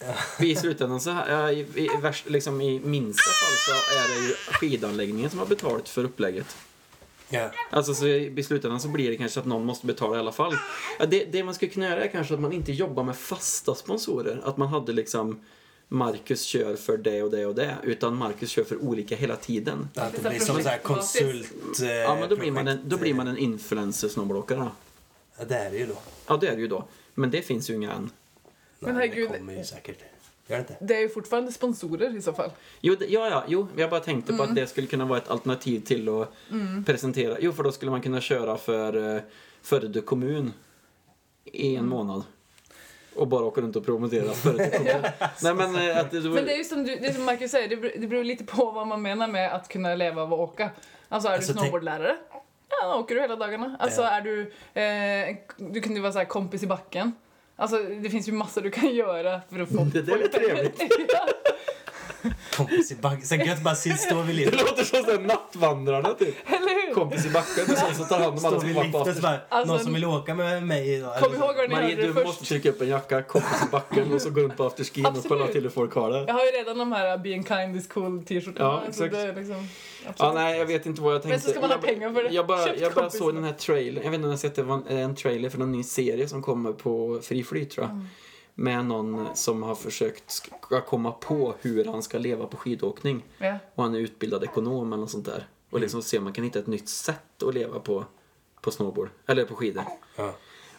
[SPEAKER 2] Vi i slutändan så här, ja, i, i, värst- liksom, i minsta fall så är det ju skidanläggningen som har betalt för upplägget.
[SPEAKER 3] Ja.
[SPEAKER 2] Alltså så i slutändan så blir det kanske att någon måste betala i alla fall. Ja, det, det man skulle kunna göra är kanske att man inte jobbar med fasta sponsorer. Att man hade liksom Marcus kör för det och det och det. Utan Marcus kör för olika hela tiden.
[SPEAKER 3] Att det blir som så här konsult... eh,
[SPEAKER 2] Ja men då blir man en, då
[SPEAKER 3] projekt,
[SPEAKER 2] blir man en influencer snowblockare då.
[SPEAKER 3] eh, Ja, det är det ju då.
[SPEAKER 2] Ja det är det ju då. Men det finns ju inga än.
[SPEAKER 1] Men
[SPEAKER 3] Nej,
[SPEAKER 1] herregud.
[SPEAKER 3] Det kommer ju säkert. Gör det inte?
[SPEAKER 1] Det är ju fortfarande sponsorer i så fall.
[SPEAKER 2] Jo, det, ja, ja, jo, jag bara tänkte
[SPEAKER 1] Mm.
[SPEAKER 2] på att det skulle kunna vara ett alternativ till att presentera. Jo, för då skulle man kunna köra för eh, Skövde kommun i
[SPEAKER 1] Mm.
[SPEAKER 2] en månad. Och bara åka runt och promotera Skövde kommun. Nej, men eh, att det...
[SPEAKER 1] Men det är ju som, du, det är som Marcus säger, det beror, det beror lite på vad man menar med att kunna leva av att åka. Alltså är
[SPEAKER 3] Alltså,
[SPEAKER 1] du
[SPEAKER 3] tänk-
[SPEAKER 1] snowboardlärare? Ja, då åker du hela dagarna. Alltså är du, eh, du kunde vara så här kompis i backen. Alltså det finns ju massor du kan göra för att få...
[SPEAKER 2] Det där lät trevligt.
[SPEAKER 1] Ja.
[SPEAKER 3] Kompis i backen. Sen gött bara sitt står vid
[SPEAKER 2] det
[SPEAKER 3] lift.
[SPEAKER 2] låter som sådär nattvandrarna typ.
[SPEAKER 1] Eller hur?
[SPEAKER 2] Kompis i backen med sån som tar hand om alla
[SPEAKER 3] Står
[SPEAKER 2] som
[SPEAKER 3] vid
[SPEAKER 2] varit på
[SPEAKER 3] liften så
[SPEAKER 2] after.
[SPEAKER 3] bara,
[SPEAKER 1] Alltså,
[SPEAKER 3] någon som vill åka med mig idag?
[SPEAKER 1] Kom ihåg vad ni
[SPEAKER 2] Marie,
[SPEAKER 1] hörde det
[SPEAKER 2] du
[SPEAKER 1] först.
[SPEAKER 2] måste trycka upp en jacka, kompis i backen och så gå runt på afterskin och kolla
[SPEAKER 1] Absolut.
[SPEAKER 2] till hur folk har det.
[SPEAKER 1] Jag har ju redan de här eh, “Being kind is cool” t-shirtarna.
[SPEAKER 2] Ja,
[SPEAKER 1] så
[SPEAKER 2] exakt.
[SPEAKER 1] det är liksom,
[SPEAKER 2] Ja,
[SPEAKER 1] absolut.
[SPEAKER 2] nej, jag vet inte vad jag tänkte.
[SPEAKER 1] Men så ska man ha
[SPEAKER 2] jag,
[SPEAKER 1] pengar för det.
[SPEAKER 2] Jag bara,
[SPEAKER 1] Köpt
[SPEAKER 2] jag bara
[SPEAKER 1] kompis.
[SPEAKER 2] såg den här trailern. Jag vet inte om jag sett det var en, en trailer för någon ny serie som kommer på Fri Flyt tror jag.
[SPEAKER 1] Mm.
[SPEAKER 2] Med någon som har försökt ska komma på hur han ska leva på skidåkning.
[SPEAKER 1] Ja.
[SPEAKER 2] Och han är utbildad ekonom eller något sånt där. Och liksom se om man kan hitta ett nytt sätt att leva på, på snowboard. Eller på skidor.
[SPEAKER 3] Ja.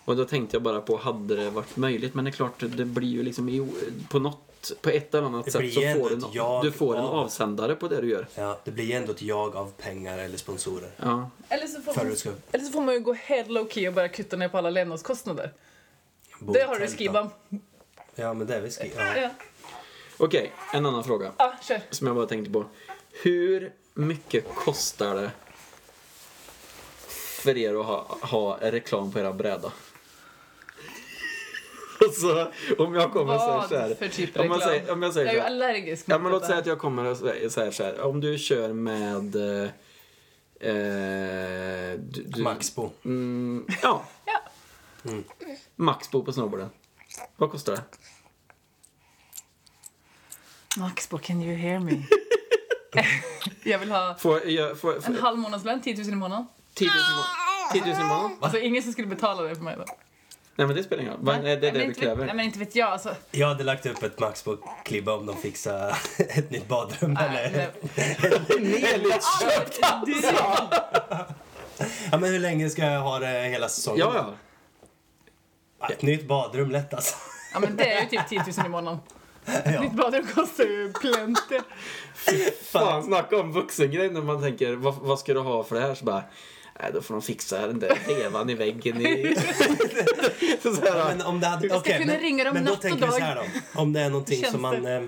[SPEAKER 2] Och då tänkte jag bara på, hade det varit möjligt? Men det är klart, det blir ju liksom i, på något, på ett eller annat
[SPEAKER 3] Det
[SPEAKER 2] sätt
[SPEAKER 3] blir
[SPEAKER 2] så
[SPEAKER 3] ändå
[SPEAKER 2] får du,
[SPEAKER 3] ett
[SPEAKER 2] nå-
[SPEAKER 3] jag
[SPEAKER 2] du får en
[SPEAKER 3] av-
[SPEAKER 2] avsändare på det du gör.
[SPEAKER 3] Ja, det blir ju ändå ett jag av pengar eller sponsorer.
[SPEAKER 2] Ja.
[SPEAKER 1] Eller, så får
[SPEAKER 3] För att
[SPEAKER 1] man,
[SPEAKER 3] du ska
[SPEAKER 1] eller så får man ju gå helt low key och börja kutta ner på alla levnadskostnader.
[SPEAKER 3] bo
[SPEAKER 1] Det
[SPEAKER 3] i
[SPEAKER 1] har du i
[SPEAKER 3] tält, då.
[SPEAKER 1] skibam.
[SPEAKER 3] Ja, men det är väl skibam. Ja.
[SPEAKER 1] Ja.
[SPEAKER 2] Okej, en annan fråga.
[SPEAKER 1] ja, kör.
[SPEAKER 2] som jag bara tänkte på. Hur mycket kostar det för er att ha, ha reklam på era bräda? Alltså, om jag kommer och säger
[SPEAKER 1] Vad
[SPEAKER 2] så här.
[SPEAKER 1] för typ
[SPEAKER 2] om,
[SPEAKER 1] reklam?
[SPEAKER 2] man säger, om jag säger
[SPEAKER 1] jag är
[SPEAKER 2] så
[SPEAKER 1] ju
[SPEAKER 2] här.
[SPEAKER 1] allergisk
[SPEAKER 2] Ja,
[SPEAKER 1] mot
[SPEAKER 2] men låt
[SPEAKER 1] detta.
[SPEAKER 2] säga att jag kommer och säger så här. Så här om du kör med... Eh, eh, du, du,
[SPEAKER 3] Maxbo.
[SPEAKER 2] Mm, ja.
[SPEAKER 1] Ja.
[SPEAKER 2] Maxbo på snowboarden. Vad kostar det?
[SPEAKER 1] Maxbo, can you hear me? jag vill ha
[SPEAKER 2] Får, jag, får, får,
[SPEAKER 1] en halv månadslön, 10 000 i månaden.
[SPEAKER 2] 10 000 i må- 10 000 i månaden?
[SPEAKER 1] Alltså ingen som skulle betala det för mig då.
[SPEAKER 2] Nej men det spelar ingen roll. Men, det är
[SPEAKER 1] men
[SPEAKER 2] det vi
[SPEAKER 1] inte vet-
[SPEAKER 2] kräver.
[SPEAKER 1] Nej men inte vet jag alltså.
[SPEAKER 3] Jag hade lagt upp ett Maxbo-klibba om de fixar ett nytt badrum
[SPEAKER 1] Nej,
[SPEAKER 3] eller...
[SPEAKER 1] nej. Du-
[SPEAKER 3] Ja, men hur länge ska jag ha det hela säsongen?
[SPEAKER 2] Ja, ja.
[SPEAKER 3] Ja, Ett nytt badrum lätt alltså.
[SPEAKER 1] Ja men det är ju typ 10 000 i månaden. Ditt badrum kostar ju plenty.
[SPEAKER 2] Fan, snacka om vuxengrej när man tänker vad, vad ska du ha för det här? Så bara, nej då får de fixa den där revan i väggen i... så så här,
[SPEAKER 3] Men om det hade,
[SPEAKER 1] ska
[SPEAKER 3] okej,
[SPEAKER 1] kunna
[SPEAKER 3] men,
[SPEAKER 1] ringa dem
[SPEAKER 3] men då
[SPEAKER 1] natt och
[SPEAKER 3] tänker vi
[SPEAKER 1] dag.
[SPEAKER 3] så här då. Om det är någonting
[SPEAKER 1] Känns
[SPEAKER 3] som man...
[SPEAKER 1] det?
[SPEAKER 3] Eh,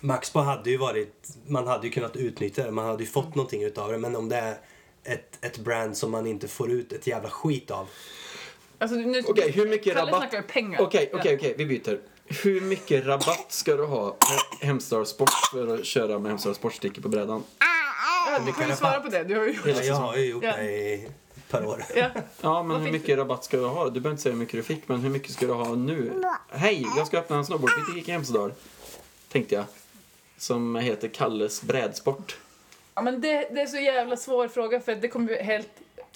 [SPEAKER 3] Maxbo hade ju varit... Man hade ju kunnat utnyttja det. Man hade ju fått
[SPEAKER 1] Mm.
[SPEAKER 3] någonting utav det. Men om det är ett, ett brand som man inte får ut ett jävla skit av.
[SPEAKER 1] Alltså, nu,
[SPEAKER 2] Okej, hur mycket
[SPEAKER 1] Kalle
[SPEAKER 2] rabatt?
[SPEAKER 1] snackar ju pengar.
[SPEAKER 2] Okej, okej, okej, vi byter. Hur mycket rabatt ska du ha med Hemstar Sport för att köra med Hemstar Sportstickor på brädan?
[SPEAKER 1] Ja, du kan ju svara på det. Du har ju gjort
[SPEAKER 3] Ja, jag har ju gjort
[SPEAKER 1] Ja.
[SPEAKER 3] det i ett par år.
[SPEAKER 1] ja.
[SPEAKER 2] Ja, men
[SPEAKER 1] Vad
[SPEAKER 2] hur
[SPEAKER 1] fick
[SPEAKER 2] mycket rabatt ska du ha? Du behöver inte säga hur mycket du fick, men hur mycket ska du ha nu? Hej, jag ska öppna en snowboardbutik i Hemsedal, tänkte jag. Som heter Kalles brädsport.
[SPEAKER 1] ja men det, det är så jävla svår fråga för att det kommer ju helt...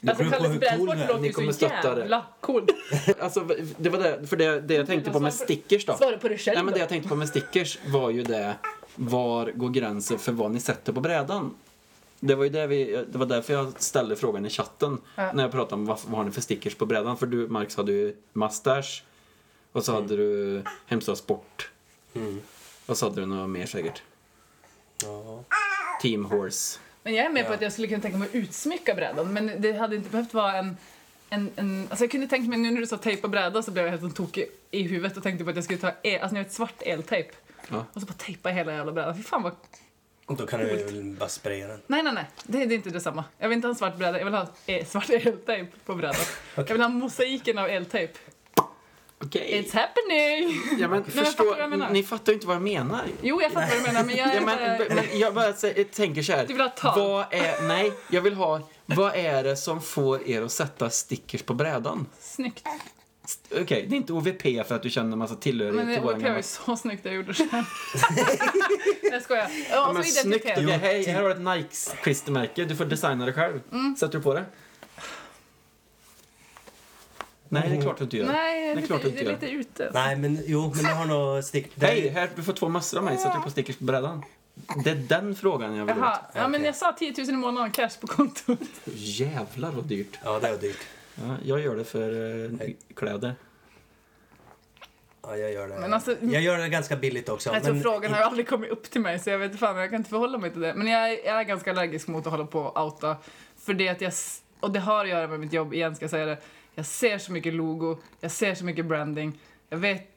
[SPEAKER 1] Alltså
[SPEAKER 3] beror på
[SPEAKER 1] Kalles
[SPEAKER 3] hur cool
[SPEAKER 1] brädsport
[SPEAKER 3] du är.
[SPEAKER 1] låter
[SPEAKER 2] Ni
[SPEAKER 1] ju
[SPEAKER 2] kommer
[SPEAKER 1] så
[SPEAKER 2] stötta det.
[SPEAKER 1] jävla cool.
[SPEAKER 2] Alltså, det var det, för det, det jag tänkte på med stickers då.
[SPEAKER 1] Svara på det själv
[SPEAKER 2] Nej, men det
[SPEAKER 1] då.
[SPEAKER 2] jag tänkte på med stickers var ju det, var går gränsen för vad ni sätter på brädan? Det var ju det vi, det var därför jag ställde frågan i chatten
[SPEAKER 1] Ja.
[SPEAKER 2] när jag pratade om vad, vad har ni för stickers på brädan? För du, Marx, hade ju mustasch och så
[SPEAKER 1] Mm.
[SPEAKER 2] hade du Hemsö Sport och så hade du något mer säkert.
[SPEAKER 3] Ja.
[SPEAKER 2] Team Horse.
[SPEAKER 1] Men jag är med på
[SPEAKER 3] Ja.
[SPEAKER 1] att jag skulle kunna tänka mig att utsmycka brädan men det hade inte behövt vara en en, en, alltså jag kunde tänka mig, nu när du sa tejpa bräda så blev jag helt sån tokig i huvudet och tänkte på att jag skulle ta el, alltså ni vet svart eltejp.
[SPEAKER 2] Ja.
[SPEAKER 1] Och så bara tejpa hela jävla brädan. Fy fan vad...
[SPEAKER 3] Då kan du väl bara spraya den.
[SPEAKER 1] Nej, nej, nej. Det, det är inte detsamma. Jag vill inte ha en svart bräda, jag vill ha eh, svart eltejp på brädan. Jag vill ha mosaiken av eltejp.
[SPEAKER 2] Okej.
[SPEAKER 1] It's happening!
[SPEAKER 2] Ja, men
[SPEAKER 1] men
[SPEAKER 2] förstå,
[SPEAKER 1] fattar vad jag menar?
[SPEAKER 2] ni fattar ju inte vad jag menar.
[SPEAKER 1] Jo, jag fattar vad du menar, men jag
[SPEAKER 2] Ja,
[SPEAKER 1] är
[SPEAKER 2] men,
[SPEAKER 1] bara...
[SPEAKER 2] men jag bara sä- tänker så här.
[SPEAKER 1] Du vill ha ett tal?
[SPEAKER 2] Vad är, nej, jag vill ha, vad är det som får er att sätta stickers på brädan?
[SPEAKER 1] Snyggt.
[SPEAKER 2] St- Okej, det är inte OVP för att du känner en massa tillhörighet
[SPEAKER 1] Men
[SPEAKER 2] till
[SPEAKER 1] det
[SPEAKER 2] våra
[SPEAKER 1] var
[SPEAKER 2] gamla...
[SPEAKER 1] ju så snyggt jag gjorde sen. jag skojar.
[SPEAKER 2] Ja,
[SPEAKER 1] Ja,
[SPEAKER 2] men
[SPEAKER 1] och så
[SPEAKER 2] snyggt!
[SPEAKER 1] identitet.
[SPEAKER 2] Okej, hej, här har du ett Nike-klistermärke. Du får designa det själv.
[SPEAKER 1] Mm.
[SPEAKER 2] Sätter du på det? Nej, det är klart du inte gör.
[SPEAKER 1] Nej,
[SPEAKER 2] det är
[SPEAKER 1] lite,
[SPEAKER 2] klart du inte
[SPEAKER 1] det är
[SPEAKER 2] gör.
[SPEAKER 1] lite ute.
[SPEAKER 3] Nej, men jo, men jag har nog stick... det-
[SPEAKER 2] Hej, här, du får två mössor av mig. Sätter du på stickers på brädan? Det är den frågan jag vill
[SPEAKER 1] Jaha,
[SPEAKER 2] åt.
[SPEAKER 1] ja, men
[SPEAKER 3] Okej.
[SPEAKER 1] jag sa 10 000 i månaden cash på kontot.
[SPEAKER 2] Jävlar vad dyrt.
[SPEAKER 3] Ja, det var dyrt.
[SPEAKER 2] Ja, jag gör det för eh, kläder.
[SPEAKER 3] Ja, jag gör det.
[SPEAKER 1] Men alltså-
[SPEAKER 3] jag gör det ganska billigt också.
[SPEAKER 1] Jag tror
[SPEAKER 3] liksom, men
[SPEAKER 1] Alltså, frågan har ju aldrig kommit upp till mig så jag vet fan, jag kan inte förhålla mig till det. Men jag, jag är ganska allergisk mot att hålla på och outa. För det att jag, s- och det har att göra med mitt jobb igen ska jag säga det. Jag ser så mycket logo, jag ser så mycket branding. Jag vet,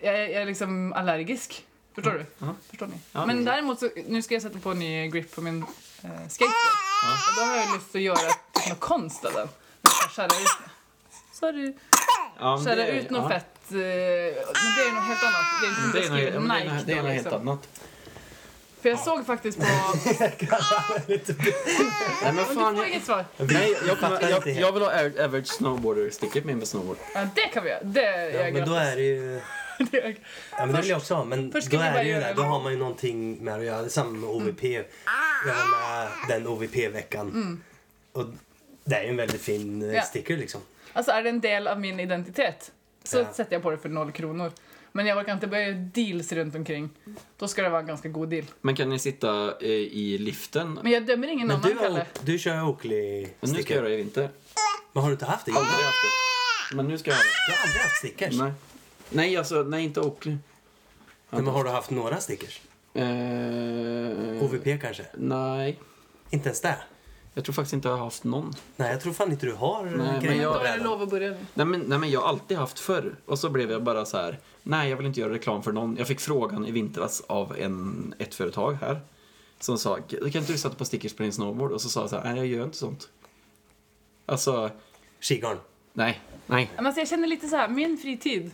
[SPEAKER 1] jag, är- jag är liksom allergisk. Förstår du?
[SPEAKER 2] ja.
[SPEAKER 1] Förstår ni?
[SPEAKER 2] Ja,
[SPEAKER 1] Men
[SPEAKER 2] mm.
[SPEAKER 1] däremot så, nu ska jag sätta på en ny grip på min eh, skateboard. Och då har jag lust att göra typ något konst av den. Jag ska Skära ut, sorry,
[SPEAKER 2] Ja, men
[SPEAKER 1] skära
[SPEAKER 2] det är-
[SPEAKER 1] ut något
[SPEAKER 2] ja.
[SPEAKER 1] fett. eh, Men det är något helt annat. Det är inte som
[SPEAKER 2] Det är något,
[SPEAKER 1] jag
[SPEAKER 2] ja,
[SPEAKER 1] skriver
[SPEAKER 2] men det är
[SPEAKER 1] Nike
[SPEAKER 2] något, det är
[SPEAKER 1] då,
[SPEAKER 2] något helt
[SPEAKER 1] liksom.
[SPEAKER 2] annat.
[SPEAKER 1] För jag såg faktiskt på...
[SPEAKER 2] Nej, men
[SPEAKER 1] Men du
[SPEAKER 2] fan,
[SPEAKER 1] får
[SPEAKER 2] jag,
[SPEAKER 1] inget svar.
[SPEAKER 2] nej, jag, kommer,
[SPEAKER 3] Fattar
[SPEAKER 2] jag,
[SPEAKER 3] inte helt.
[SPEAKER 2] jag vill ha Aver- average snowboarder-sticker med mig snowboard.
[SPEAKER 1] Ja, det kan vi göra. Det är
[SPEAKER 3] Ja,
[SPEAKER 1] jag
[SPEAKER 3] men då är det ju...
[SPEAKER 1] glad
[SPEAKER 3] Ja, men det vill jag också ha. Men
[SPEAKER 1] först
[SPEAKER 3] då
[SPEAKER 1] ska vi
[SPEAKER 3] är
[SPEAKER 1] bara
[SPEAKER 3] det ju
[SPEAKER 1] göra Mm.
[SPEAKER 3] det. Då har man ju någonting med att göra. Det är samma med OVP. Göra med den OVP-veckan. Och det är ju en väldigt fin eh,
[SPEAKER 1] Ja.
[SPEAKER 3] sticker liksom.
[SPEAKER 1] Alltså är det en del av min identitet så
[SPEAKER 3] Ja.
[SPEAKER 1] sätter jag på det för noll kronor. Men jag orkar inte börja göra deals runt omkring. Då ska det vara en ganska god deal.
[SPEAKER 2] Men kan ni sitta eh, i liften?
[SPEAKER 1] Men jag dömer ingen
[SPEAKER 3] Men
[SPEAKER 1] annan,
[SPEAKER 3] du, har-
[SPEAKER 1] Kalle.
[SPEAKER 3] du kör
[SPEAKER 2] Men nu ska jag göra
[SPEAKER 3] Oakley-sticker.
[SPEAKER 2] det i vinter.
[SPEAKER 3] Men har du inte haft det?
[SPEAKER 1] Ah!
[SPEAKER 2] Aldrig haft det. Men nu ska jag ha det.
[SPEAKER 3] Du har aldrig haft stickers?
[SPEAKER 2] Nej. Nej, alltså, nej, inte Oakley.
[SPEAKER 3] Nej, men har du haft några stickers?
[SPEAKER 2] Eh,
[SPEAKER 3] OVP kanske?
[SPEAKER 2] Nej,
[SPEAKER 3] Inte ens det?
[SPEAKER 2] jag tror faktiskt inte jag har haft någon.
[SPEAKER 3] Nej, jag tror fan inte du har
[SPEAKER 2] men
[SPEAKER 3] grejer
[SPEAKER 2] jag-
[SPEAKER 1] Då är
[SPEAKER 3] på
[SPEAKER 1] det
[SPEAKER 3] brädan.
[SPEAKER 1] lov att börja nu.
[SPEAKER 2] Nej men, nej men jag har alltid haft förr. Och så blev jag bara så här. nej jag vill inte göra reklam för någon. Jag fick frågan i vintras av en, ett företag här. Som sa, kan inte du sätta på stickers på din snowboard? Och så sa jag så här, nej jag gör inte sånt. Alltså,
[SPEAKER 3] Kikarn.
[SPEAKER 2] nej, nej.
[SPEAKER 1] Men alltså jag känner lite så här, min fritid,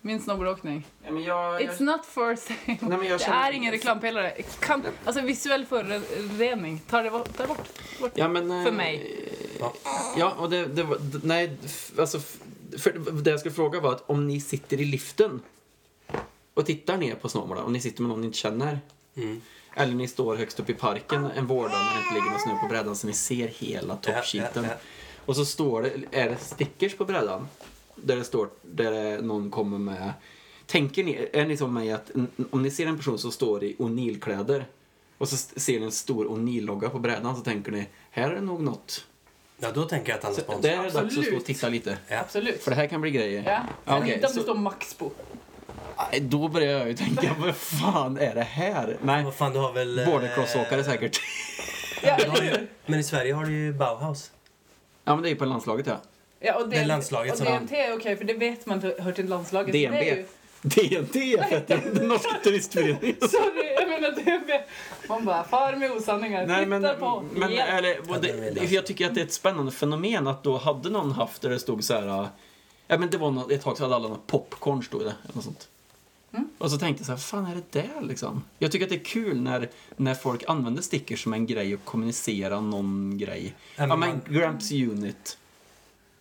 [SPEAKER 1] min snowboardåkning.
[SPEAKER 2] Nej men jag,
[SPEAKER 1] It's not for sale.
[SPEAKER 2] Nej, men jag
[SPEAKER 1] det
[SPEAKER 2] känner-
[SPEAKER 1] är ingen reklampelare. Kan, alltså visuell förorening, ta det bort. Ta bort. Ta bort.
[SPEAKER 2] ja, men, eh,
[SPEAKER 1] För mig.
[SPEAKER 3] Ja.
[SPEAKER 2] Ja, och det, det var, d- nej, f- alltså, f- för det jag skulle fråga var att om ni sitter i liften och tittar ner på snowboarden, om ni sitter med någon ni inte känner,
[SPEAKER 3] Mm.
[SPEAKER 2] eller ni står högst upp i parken en vårdag när det inte ligger någon snö på brädan så ni ser hela toppsheeten.
[SPEAKER 3] ja, ja.
[SPEAKER 2] Och så står det, är det stickers på brädan? Där det står, där det- någon kommer med, tänker ni, är ni som mig att n- om ni ser en person som står i O'Neill-kläder och så st- ser ni en stor O'Neill-logga på brädan så tänker ni, här är det nog något.
[SPEAKER 3] Ja, då tänker jag att han är
[SPEAKER 2] Där
[SPEAKER 3] sponsor.
[SPEAKER 2] är Typ, det dags att stå och
[SPEAKER 1] Absolut.
[SPEAKER 2] titta lite.
[SPEAKER 3] Ja.
[SPEAKER 1] Absolut.
[SPEAKER 2] För det här kan bli grejer.
[SPEAKER 1] Ja.
[SPEAKER 2] Ja,
[SPEAKER 1] Men
[SPEAKER 2] okej,
[SPEAKER 1] inte om det
[SPEAKER 2] så-
[SPEAKER 1] står Maxbo.
[SPEAKER 2] Nej, Då börjar jag ju tänka, vad fan är det här? Nej,
[SPEAKER 3] Vad fan, du har väl... eh,
[SPEAKER 2] bordercrossåkare säkert.
[SPEAKER 1] Ja,
[SPEAKER 3] du har ju- Men i Sverige har du ju Bauhaus.
[SPEAKER 2] Ja men det är ju på landslaget ja.
[SPEAKER 1] Ja, och det,
[SPEAKER 3] Det är landslaget
[SPEAKER 1] och
[SPEAKER 3] som-
[SPEAKER 1] DNT är okej, för det vet man inte hör till landslaget. så Det är
[SPEAKER 2] DNB.
[SPEAKER 1] ju,
[SPEAKER 2] DNT är fett, den norska turistföreningen.
[SPEAKER 1] sorry, jag menar DNB. Man bara far med osanningar.
[SPEAKER 2] Nej
[SPEAKER 1] Hittar
[SPEAKER 2] men,
[SPEAKER 1] på.
[SPEAKER 2] men eh-
[SPEAKER 1] Ja.
[SPEAKER 2] eller, och
[SPEAKER 3] Ja, det är
[SPEAKER 2] det,
[SPEAKER 3] det.
[SPEAKER 2] jag tycker att det är ett spännande fenomen att då hade någon haft där det stod så här. äh, Ja men det var något, ett tag så hade alla något popcorn stod det, eller något sånt.
[SPEAKER 1] Mm.
[SPEAKER 2] Och så tänkte jag så här, vad fan är det där liksom? Jag tycker att det är kul när, när folk använder stickers som en grej och kommunicera någon grej.
[SPEAKER 3] Ja, men
[SPEAKER 2] Ja men
[SPEAKER 3] man-
[SPEAKER 2] Gramps Unit,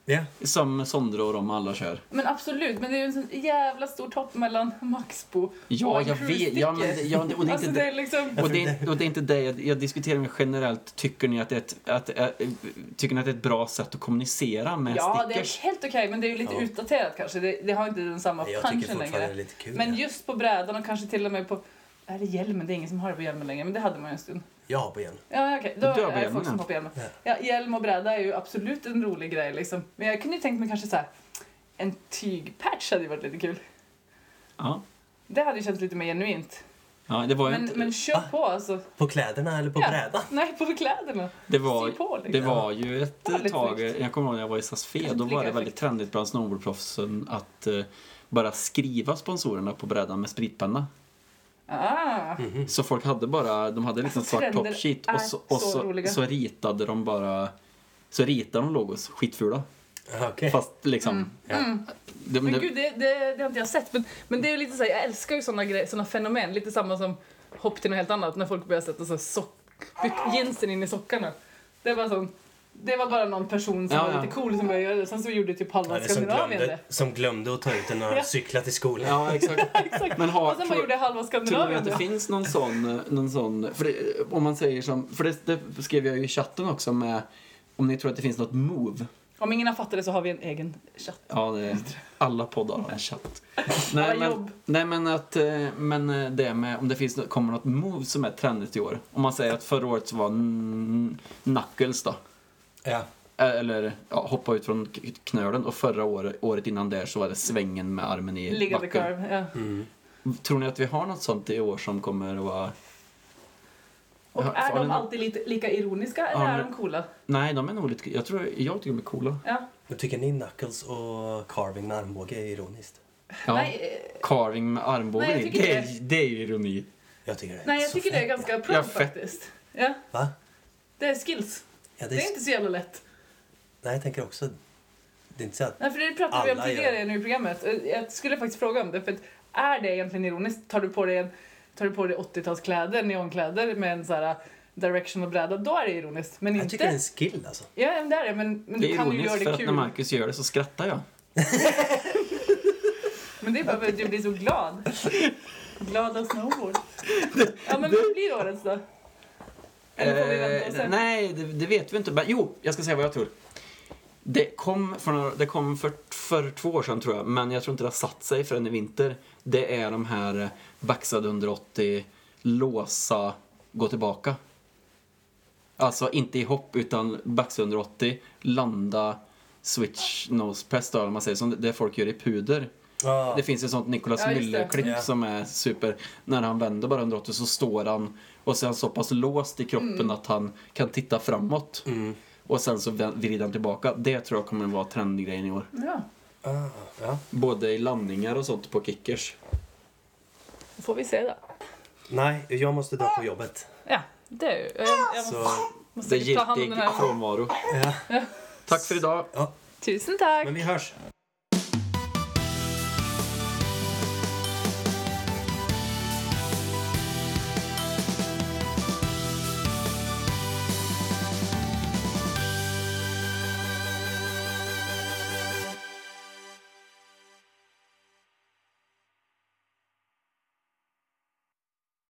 [SPEAKER 3] Ja.
[SPEAKER 2] som Sondre och de alla kör.
[SPEAKER 1] Men absolut, men det är ju en sån jävla stor topp mellan Maxbo
[SPEAKER 2] Ja,
[SPEAKER 1] och en
[SPEAKER 2] jag vet. Ja, men, det-
[SPEAKER 1] cruise-sticker.
[SPEAKER 2] ja, och det är
[SPEAKER 1] Alltså
[SPEAKER 2] inte
[SPEAKER 1] det
[SPEAKER 2] det.
[SPEAKER 1] är liksom...
[SPEAKER 2] Och det, är- och det är inte det jag, jag diskuterar med generellt. Tycker ni att det är ett, att, äh, tycker ni att det är ett bra sätt att kommunicera med
[SPEAKER 1] Ja, det
[SPEAKER 2] stickers?
[SPEAKER 1] är helt okej, men det är ju lite
[SPEAKER 3] Ja.
[SPEAKER 1] utdaterat kanske. Det, det har inte den samma
[SPEAKER 3] Jag tycker
[SPEAKER 1] punchen
[SPEAKER 3] fortfarande det är
[SPEAKER 1] längre.
[SPEAKER 3] lite kul.
[SPEAKER 1] Men
[SPEAKER 3] ja.
[SPEAKER 1] just på brädan och kanske till och med på... Är det hjälmen? Det är ingen som har det på hjälmen längre, men det hade man ju en stund.
[SPEAKER 3] Jag har på igen.
[SPEAKER 1] Ja, okej. Då
[SPEAKER 2] Du har
[SPEAKER 1] är det
[SPEAKER 2] hjälmen,
[SPEAKER 1] folk som
[SPEAKER 2] ja.
[SPEAKER 1] hoppar hjälmen.
[SPEAKER 3] Ja.
[SPEAKER 1] Ja, hjälm och bräda är ju absolut en rolig grej liksom. Men jag kunde ju tänkt mig kanske så här. En tygpatch hade ju varit lite kul.
[SPEAKER 2] Ja.
[SPEAKER 1] Det hade ju känts lite mer genuint.
[SPEAKER 2] Ja, det var ju
[SPEAKER 1] Men,
[SPEAKER 2] inte...
[SPEAKER 1] men kör på alltså.
[SPEAKER 3] På kläderna eller Ah, på
[SPEAKER 1] Ja.
[SPEAKER 3] brädan?
[SPEAKER 1] Nej, på kläderna.
[SPEAKER 2] Det var,
[SPEAKER 1] Se på, liksom.
[SPEAKER 2] det var ju ett
[SPEAKER 1] Väldigt
[SPEAKER 2] tag,
[SPEAKER 1] snyggt.
[SPEAKER 2] jag kommer ihåg när jag var i Sassfe, då
[SPEAKER 1] Kanske
[SPEAKER 2] var det
[SPEAKER 1] lika
[SPEAKER 2] väldigt trendigt bland snowboardproffsen att eh, bara skriva sponsorerna på brädan med spritpenna.
[SPEAKER 1] Ah.
[SPEAKER 2] Så folk hade bara, de hade liksom
[SPEAKER 1] Alltså,
[SPEAKER 2] svart
[SPEAKER 1] trender
[SPEAKER 2] top sheet
[SPEAKER 1] är
[SPEAKER 2] och, så, och
[SPEAKER 1] så
[SPEAKER 2] så,
[SPEAKER 1] roliga.
[SPEAKER 2] så ritade de bara, så ritade de logos, skitfula.
[SPEAKER 3] Ja, Okej.
[SPEAKER 2] Fast liksom, det,
[SPEAKER 1] Mm. Men
[SPEAKER 2] det-
[SPEAKER 1] gud, det, det, det har inte jag sett. Men, men det är ju lite så här, jag älskar ju såna, gre- såna fenomen. Lite samma som hopp till något helt annat. När folk börjar sätta så här sock, byt- jeansen in i sockarna. Det var, sån, det var bara någon person som
[SPEAKER 2] Ja,
[SPEAKER 1] var
[SPEAKER 2] ja.
[SPEAKER 1] lite cool som började göra det. Sen så gjorde typ halva
[SPEAKER 3] Ja, det är som,
[SPEAKER 1] Skandinavien
[SPEAKER 3] glömde,
[SPEAKER 1] det.
[SPEAKER 3] som glömde att ta ut en
[SPEAKER 1] Ja.
[SPEAKER 3] och cykla till skolan.
[SPEAKER 2] ja exakt.
[SPEAKER 1] Exakt.
[SPEAKER 2] Men har,
[SPEAKER 1] Och sen bara gjorde halva
[SPEAKER 2] Tror du
[SPEAKER 1] Skandinavien
[SPEAKER 2] att det
[SPEAKER 1] det.
[SPEAKER 2] finns någon sån, någon sån för det, om man säger som, för det, det skrev jag ju i chatten också med, om ni tror att det finns något move.
[SPEAKER 1] Om ingen har fattat det så har vi en egen chatt.
[SPEAKER 2] Ja, det, alla poddar har en chatt.
[SPEAKER 1] Alla
[SPEAKER 2] Nej, men,
[SPEAKER 1] jobb.
[SPEAKER 2] nej men, att, eh, men eh, det med om det finns, nå- kommer något move som är trendigt i år. Om man säger att förra året så var n- knuckles då.
[SPEAKER 3] Ja.
[SPEAKER 2] Eh, Eller ja, hoppa ut från k- knölen och förra året, året innan där så var det svängen med armen i
[SPEAKER 1] Liggande
[SPEAKER 2] backen.
[SPEAKER 1] curve. Ja.
[SPEAKER 3] Mm.
[SPEAKER 2] Tror ni att vi har något sånt i år som kommer att vara...
[SPEAKER 1] Och
[SPEAKER 2] Har-
[SPEAKER 1] är
[SPEAKER 2] har ni
[SPEAKER 1] de
[SPEAKER 2] nå-
[SPEAKER 1] alltid lite, lika ironiska eller
[SPEAKER 2] Ja,
[SPEAKER 1] är
[SPEAKER 2] men-
[SPEAKER 1] de coola?
[SPEAKER 2] Nej, de är nog lite... Jag, tror, jag tycker de är coola.
[SPEAKER 1] Ja.
[SPEAKER 3] Men tycker ni knuckles och carving med armbåge är ironiskt?
[SPEAKER 2] Ja.
[SPEAKER 1] Nej, eh,
[SPEAKER 2] Carving med armbåge,
[SPEAKER 1] Nej, jag
[SPEAKER 2] det,
[SPEAKER 1] tycker
[SPEAKER 2] det,
[SPEAKER 1] det.
[SPEAKER 2] är- det är ju ironi.
[SPEAKER 3] Jag tycker det. är
[SPEAKER 1] nej, jag
[SPEAKER 3] så
[SPEAKER 1] tycker det är
[SPEAKER 3] fett.
[SPEAKER 1] ganska
[SPEAKER 2] Ja,
[SPEAKER 1] pro
[SPEAKER 2] fett.
[SPEAKER 1] faktiskt. Ja,
[SPEAKER 3] Va?
[SPEAKER 1] det är skills.
[SPEAKER 3] Ja, det
[SPEAKER 1] Det
[SPEAKER 3] är...
[SPEAKER 1] är inte så jävla lätt.
[SPEAKER 3] Nej, jag tänker också... Det är inte så att...
[SPEAKER 1] Nej, för det pratade vi om
[SPEAKER 3] Alla gör
[SPEAKER 1] tidigare
[SPEAKER 3] det.
[SPEAKER 1] nu i programmet. Eh, Jag skulle faktiskt fråga om det. För att är det egentligen ironiskt? Tar du på dig, en, tar du på dig 80-talskläder, neonkläder med en så här directional bräda, då är det ironiskt. Men
[SPEAKER 3] Jag
[SPEAKER 1] inte...
[SPEAKER 3] tycker det är en skill alltså.
[SPEAKER 1] Ja, men det är det. Men, men
[SPEAKER 2] Det
[SPEAKER 1] du
[SPEAKER 2] är
[SPEAKER 1] kan ju göra
[SPEAKER 2] ironiskt för
[SPEAKER 1] det
[SPEAKER 2] att när
[SPEAKER 1] kul.
[SPEAKER 2] Marcus gör det så skrattar jag.
[SPEAKER 1] Men det är bara för att du blir så glad. Glada snowboard. Ja, men vad blir årets då? Eller får vi vänta och se?
[SPEAKER 2] Eh, nej, det, det vet vi inte. Men, jo, jag ska säga vad jag tror. Det kom, för, några, det kom för, för två år sedan tror jag, men jag tror inte det har satt sig förrän i vinter. Det är de här eh, baxade under 80, låsa, gå tillbaka. Alltså inte i hopp utan baxa under 80, landa, switch nose press då, om man säger som det- det folk gör i puder.
[SPEAKER 3] Ja.
[SPEAKER 2] Det finns ju sånt Nicolas
[SPEAKER 1] Ja, just det.
[SPEAKER 2] Müller-klipp
[SPEAKER 3] Ja.
[SPEAKER 2] som är super. När han vänder bara 180 så står han och så är han så pass låst i kroppen
[SPEAKER 1] Mm.
[SPEAKER 2] att han kan titta framåt.
[SPEAKER 3] Mm.
[SPEAKER 2] Och sen så vä- vrider han tillbaka. Det tror jag kommer vara trendgrejen i år.
[SPEAKER 1] Ja,
[SPEAKER 3] Ah, ja.
[SPEAKER 2] Både i landningar och sånt på kickers.
[SPEAKER 1] då får vi se då.
[SPEAKER 3] Nej, jag måste dra på jobbet.
[SPEAKER 1] Ja, det är ju... eh, Jag, jag måste,
[SPEAKER 3] Så...
[SPEAKER 1] måste
[SPEAKER 2] Det är
[SPEAKER 1] ta hand om
[SPEAKER 2] giltig
[SPEAKER 1] den här.
[SPEAKER 2] frånvaro.
[SPEAKER 3] Ja.
[SPEAKER 2] Tack för idag.
[SPEAKER 3] ja.
[SPEAKER 1] Tusen tack!
[SPEAKER 3] Men vi hörs.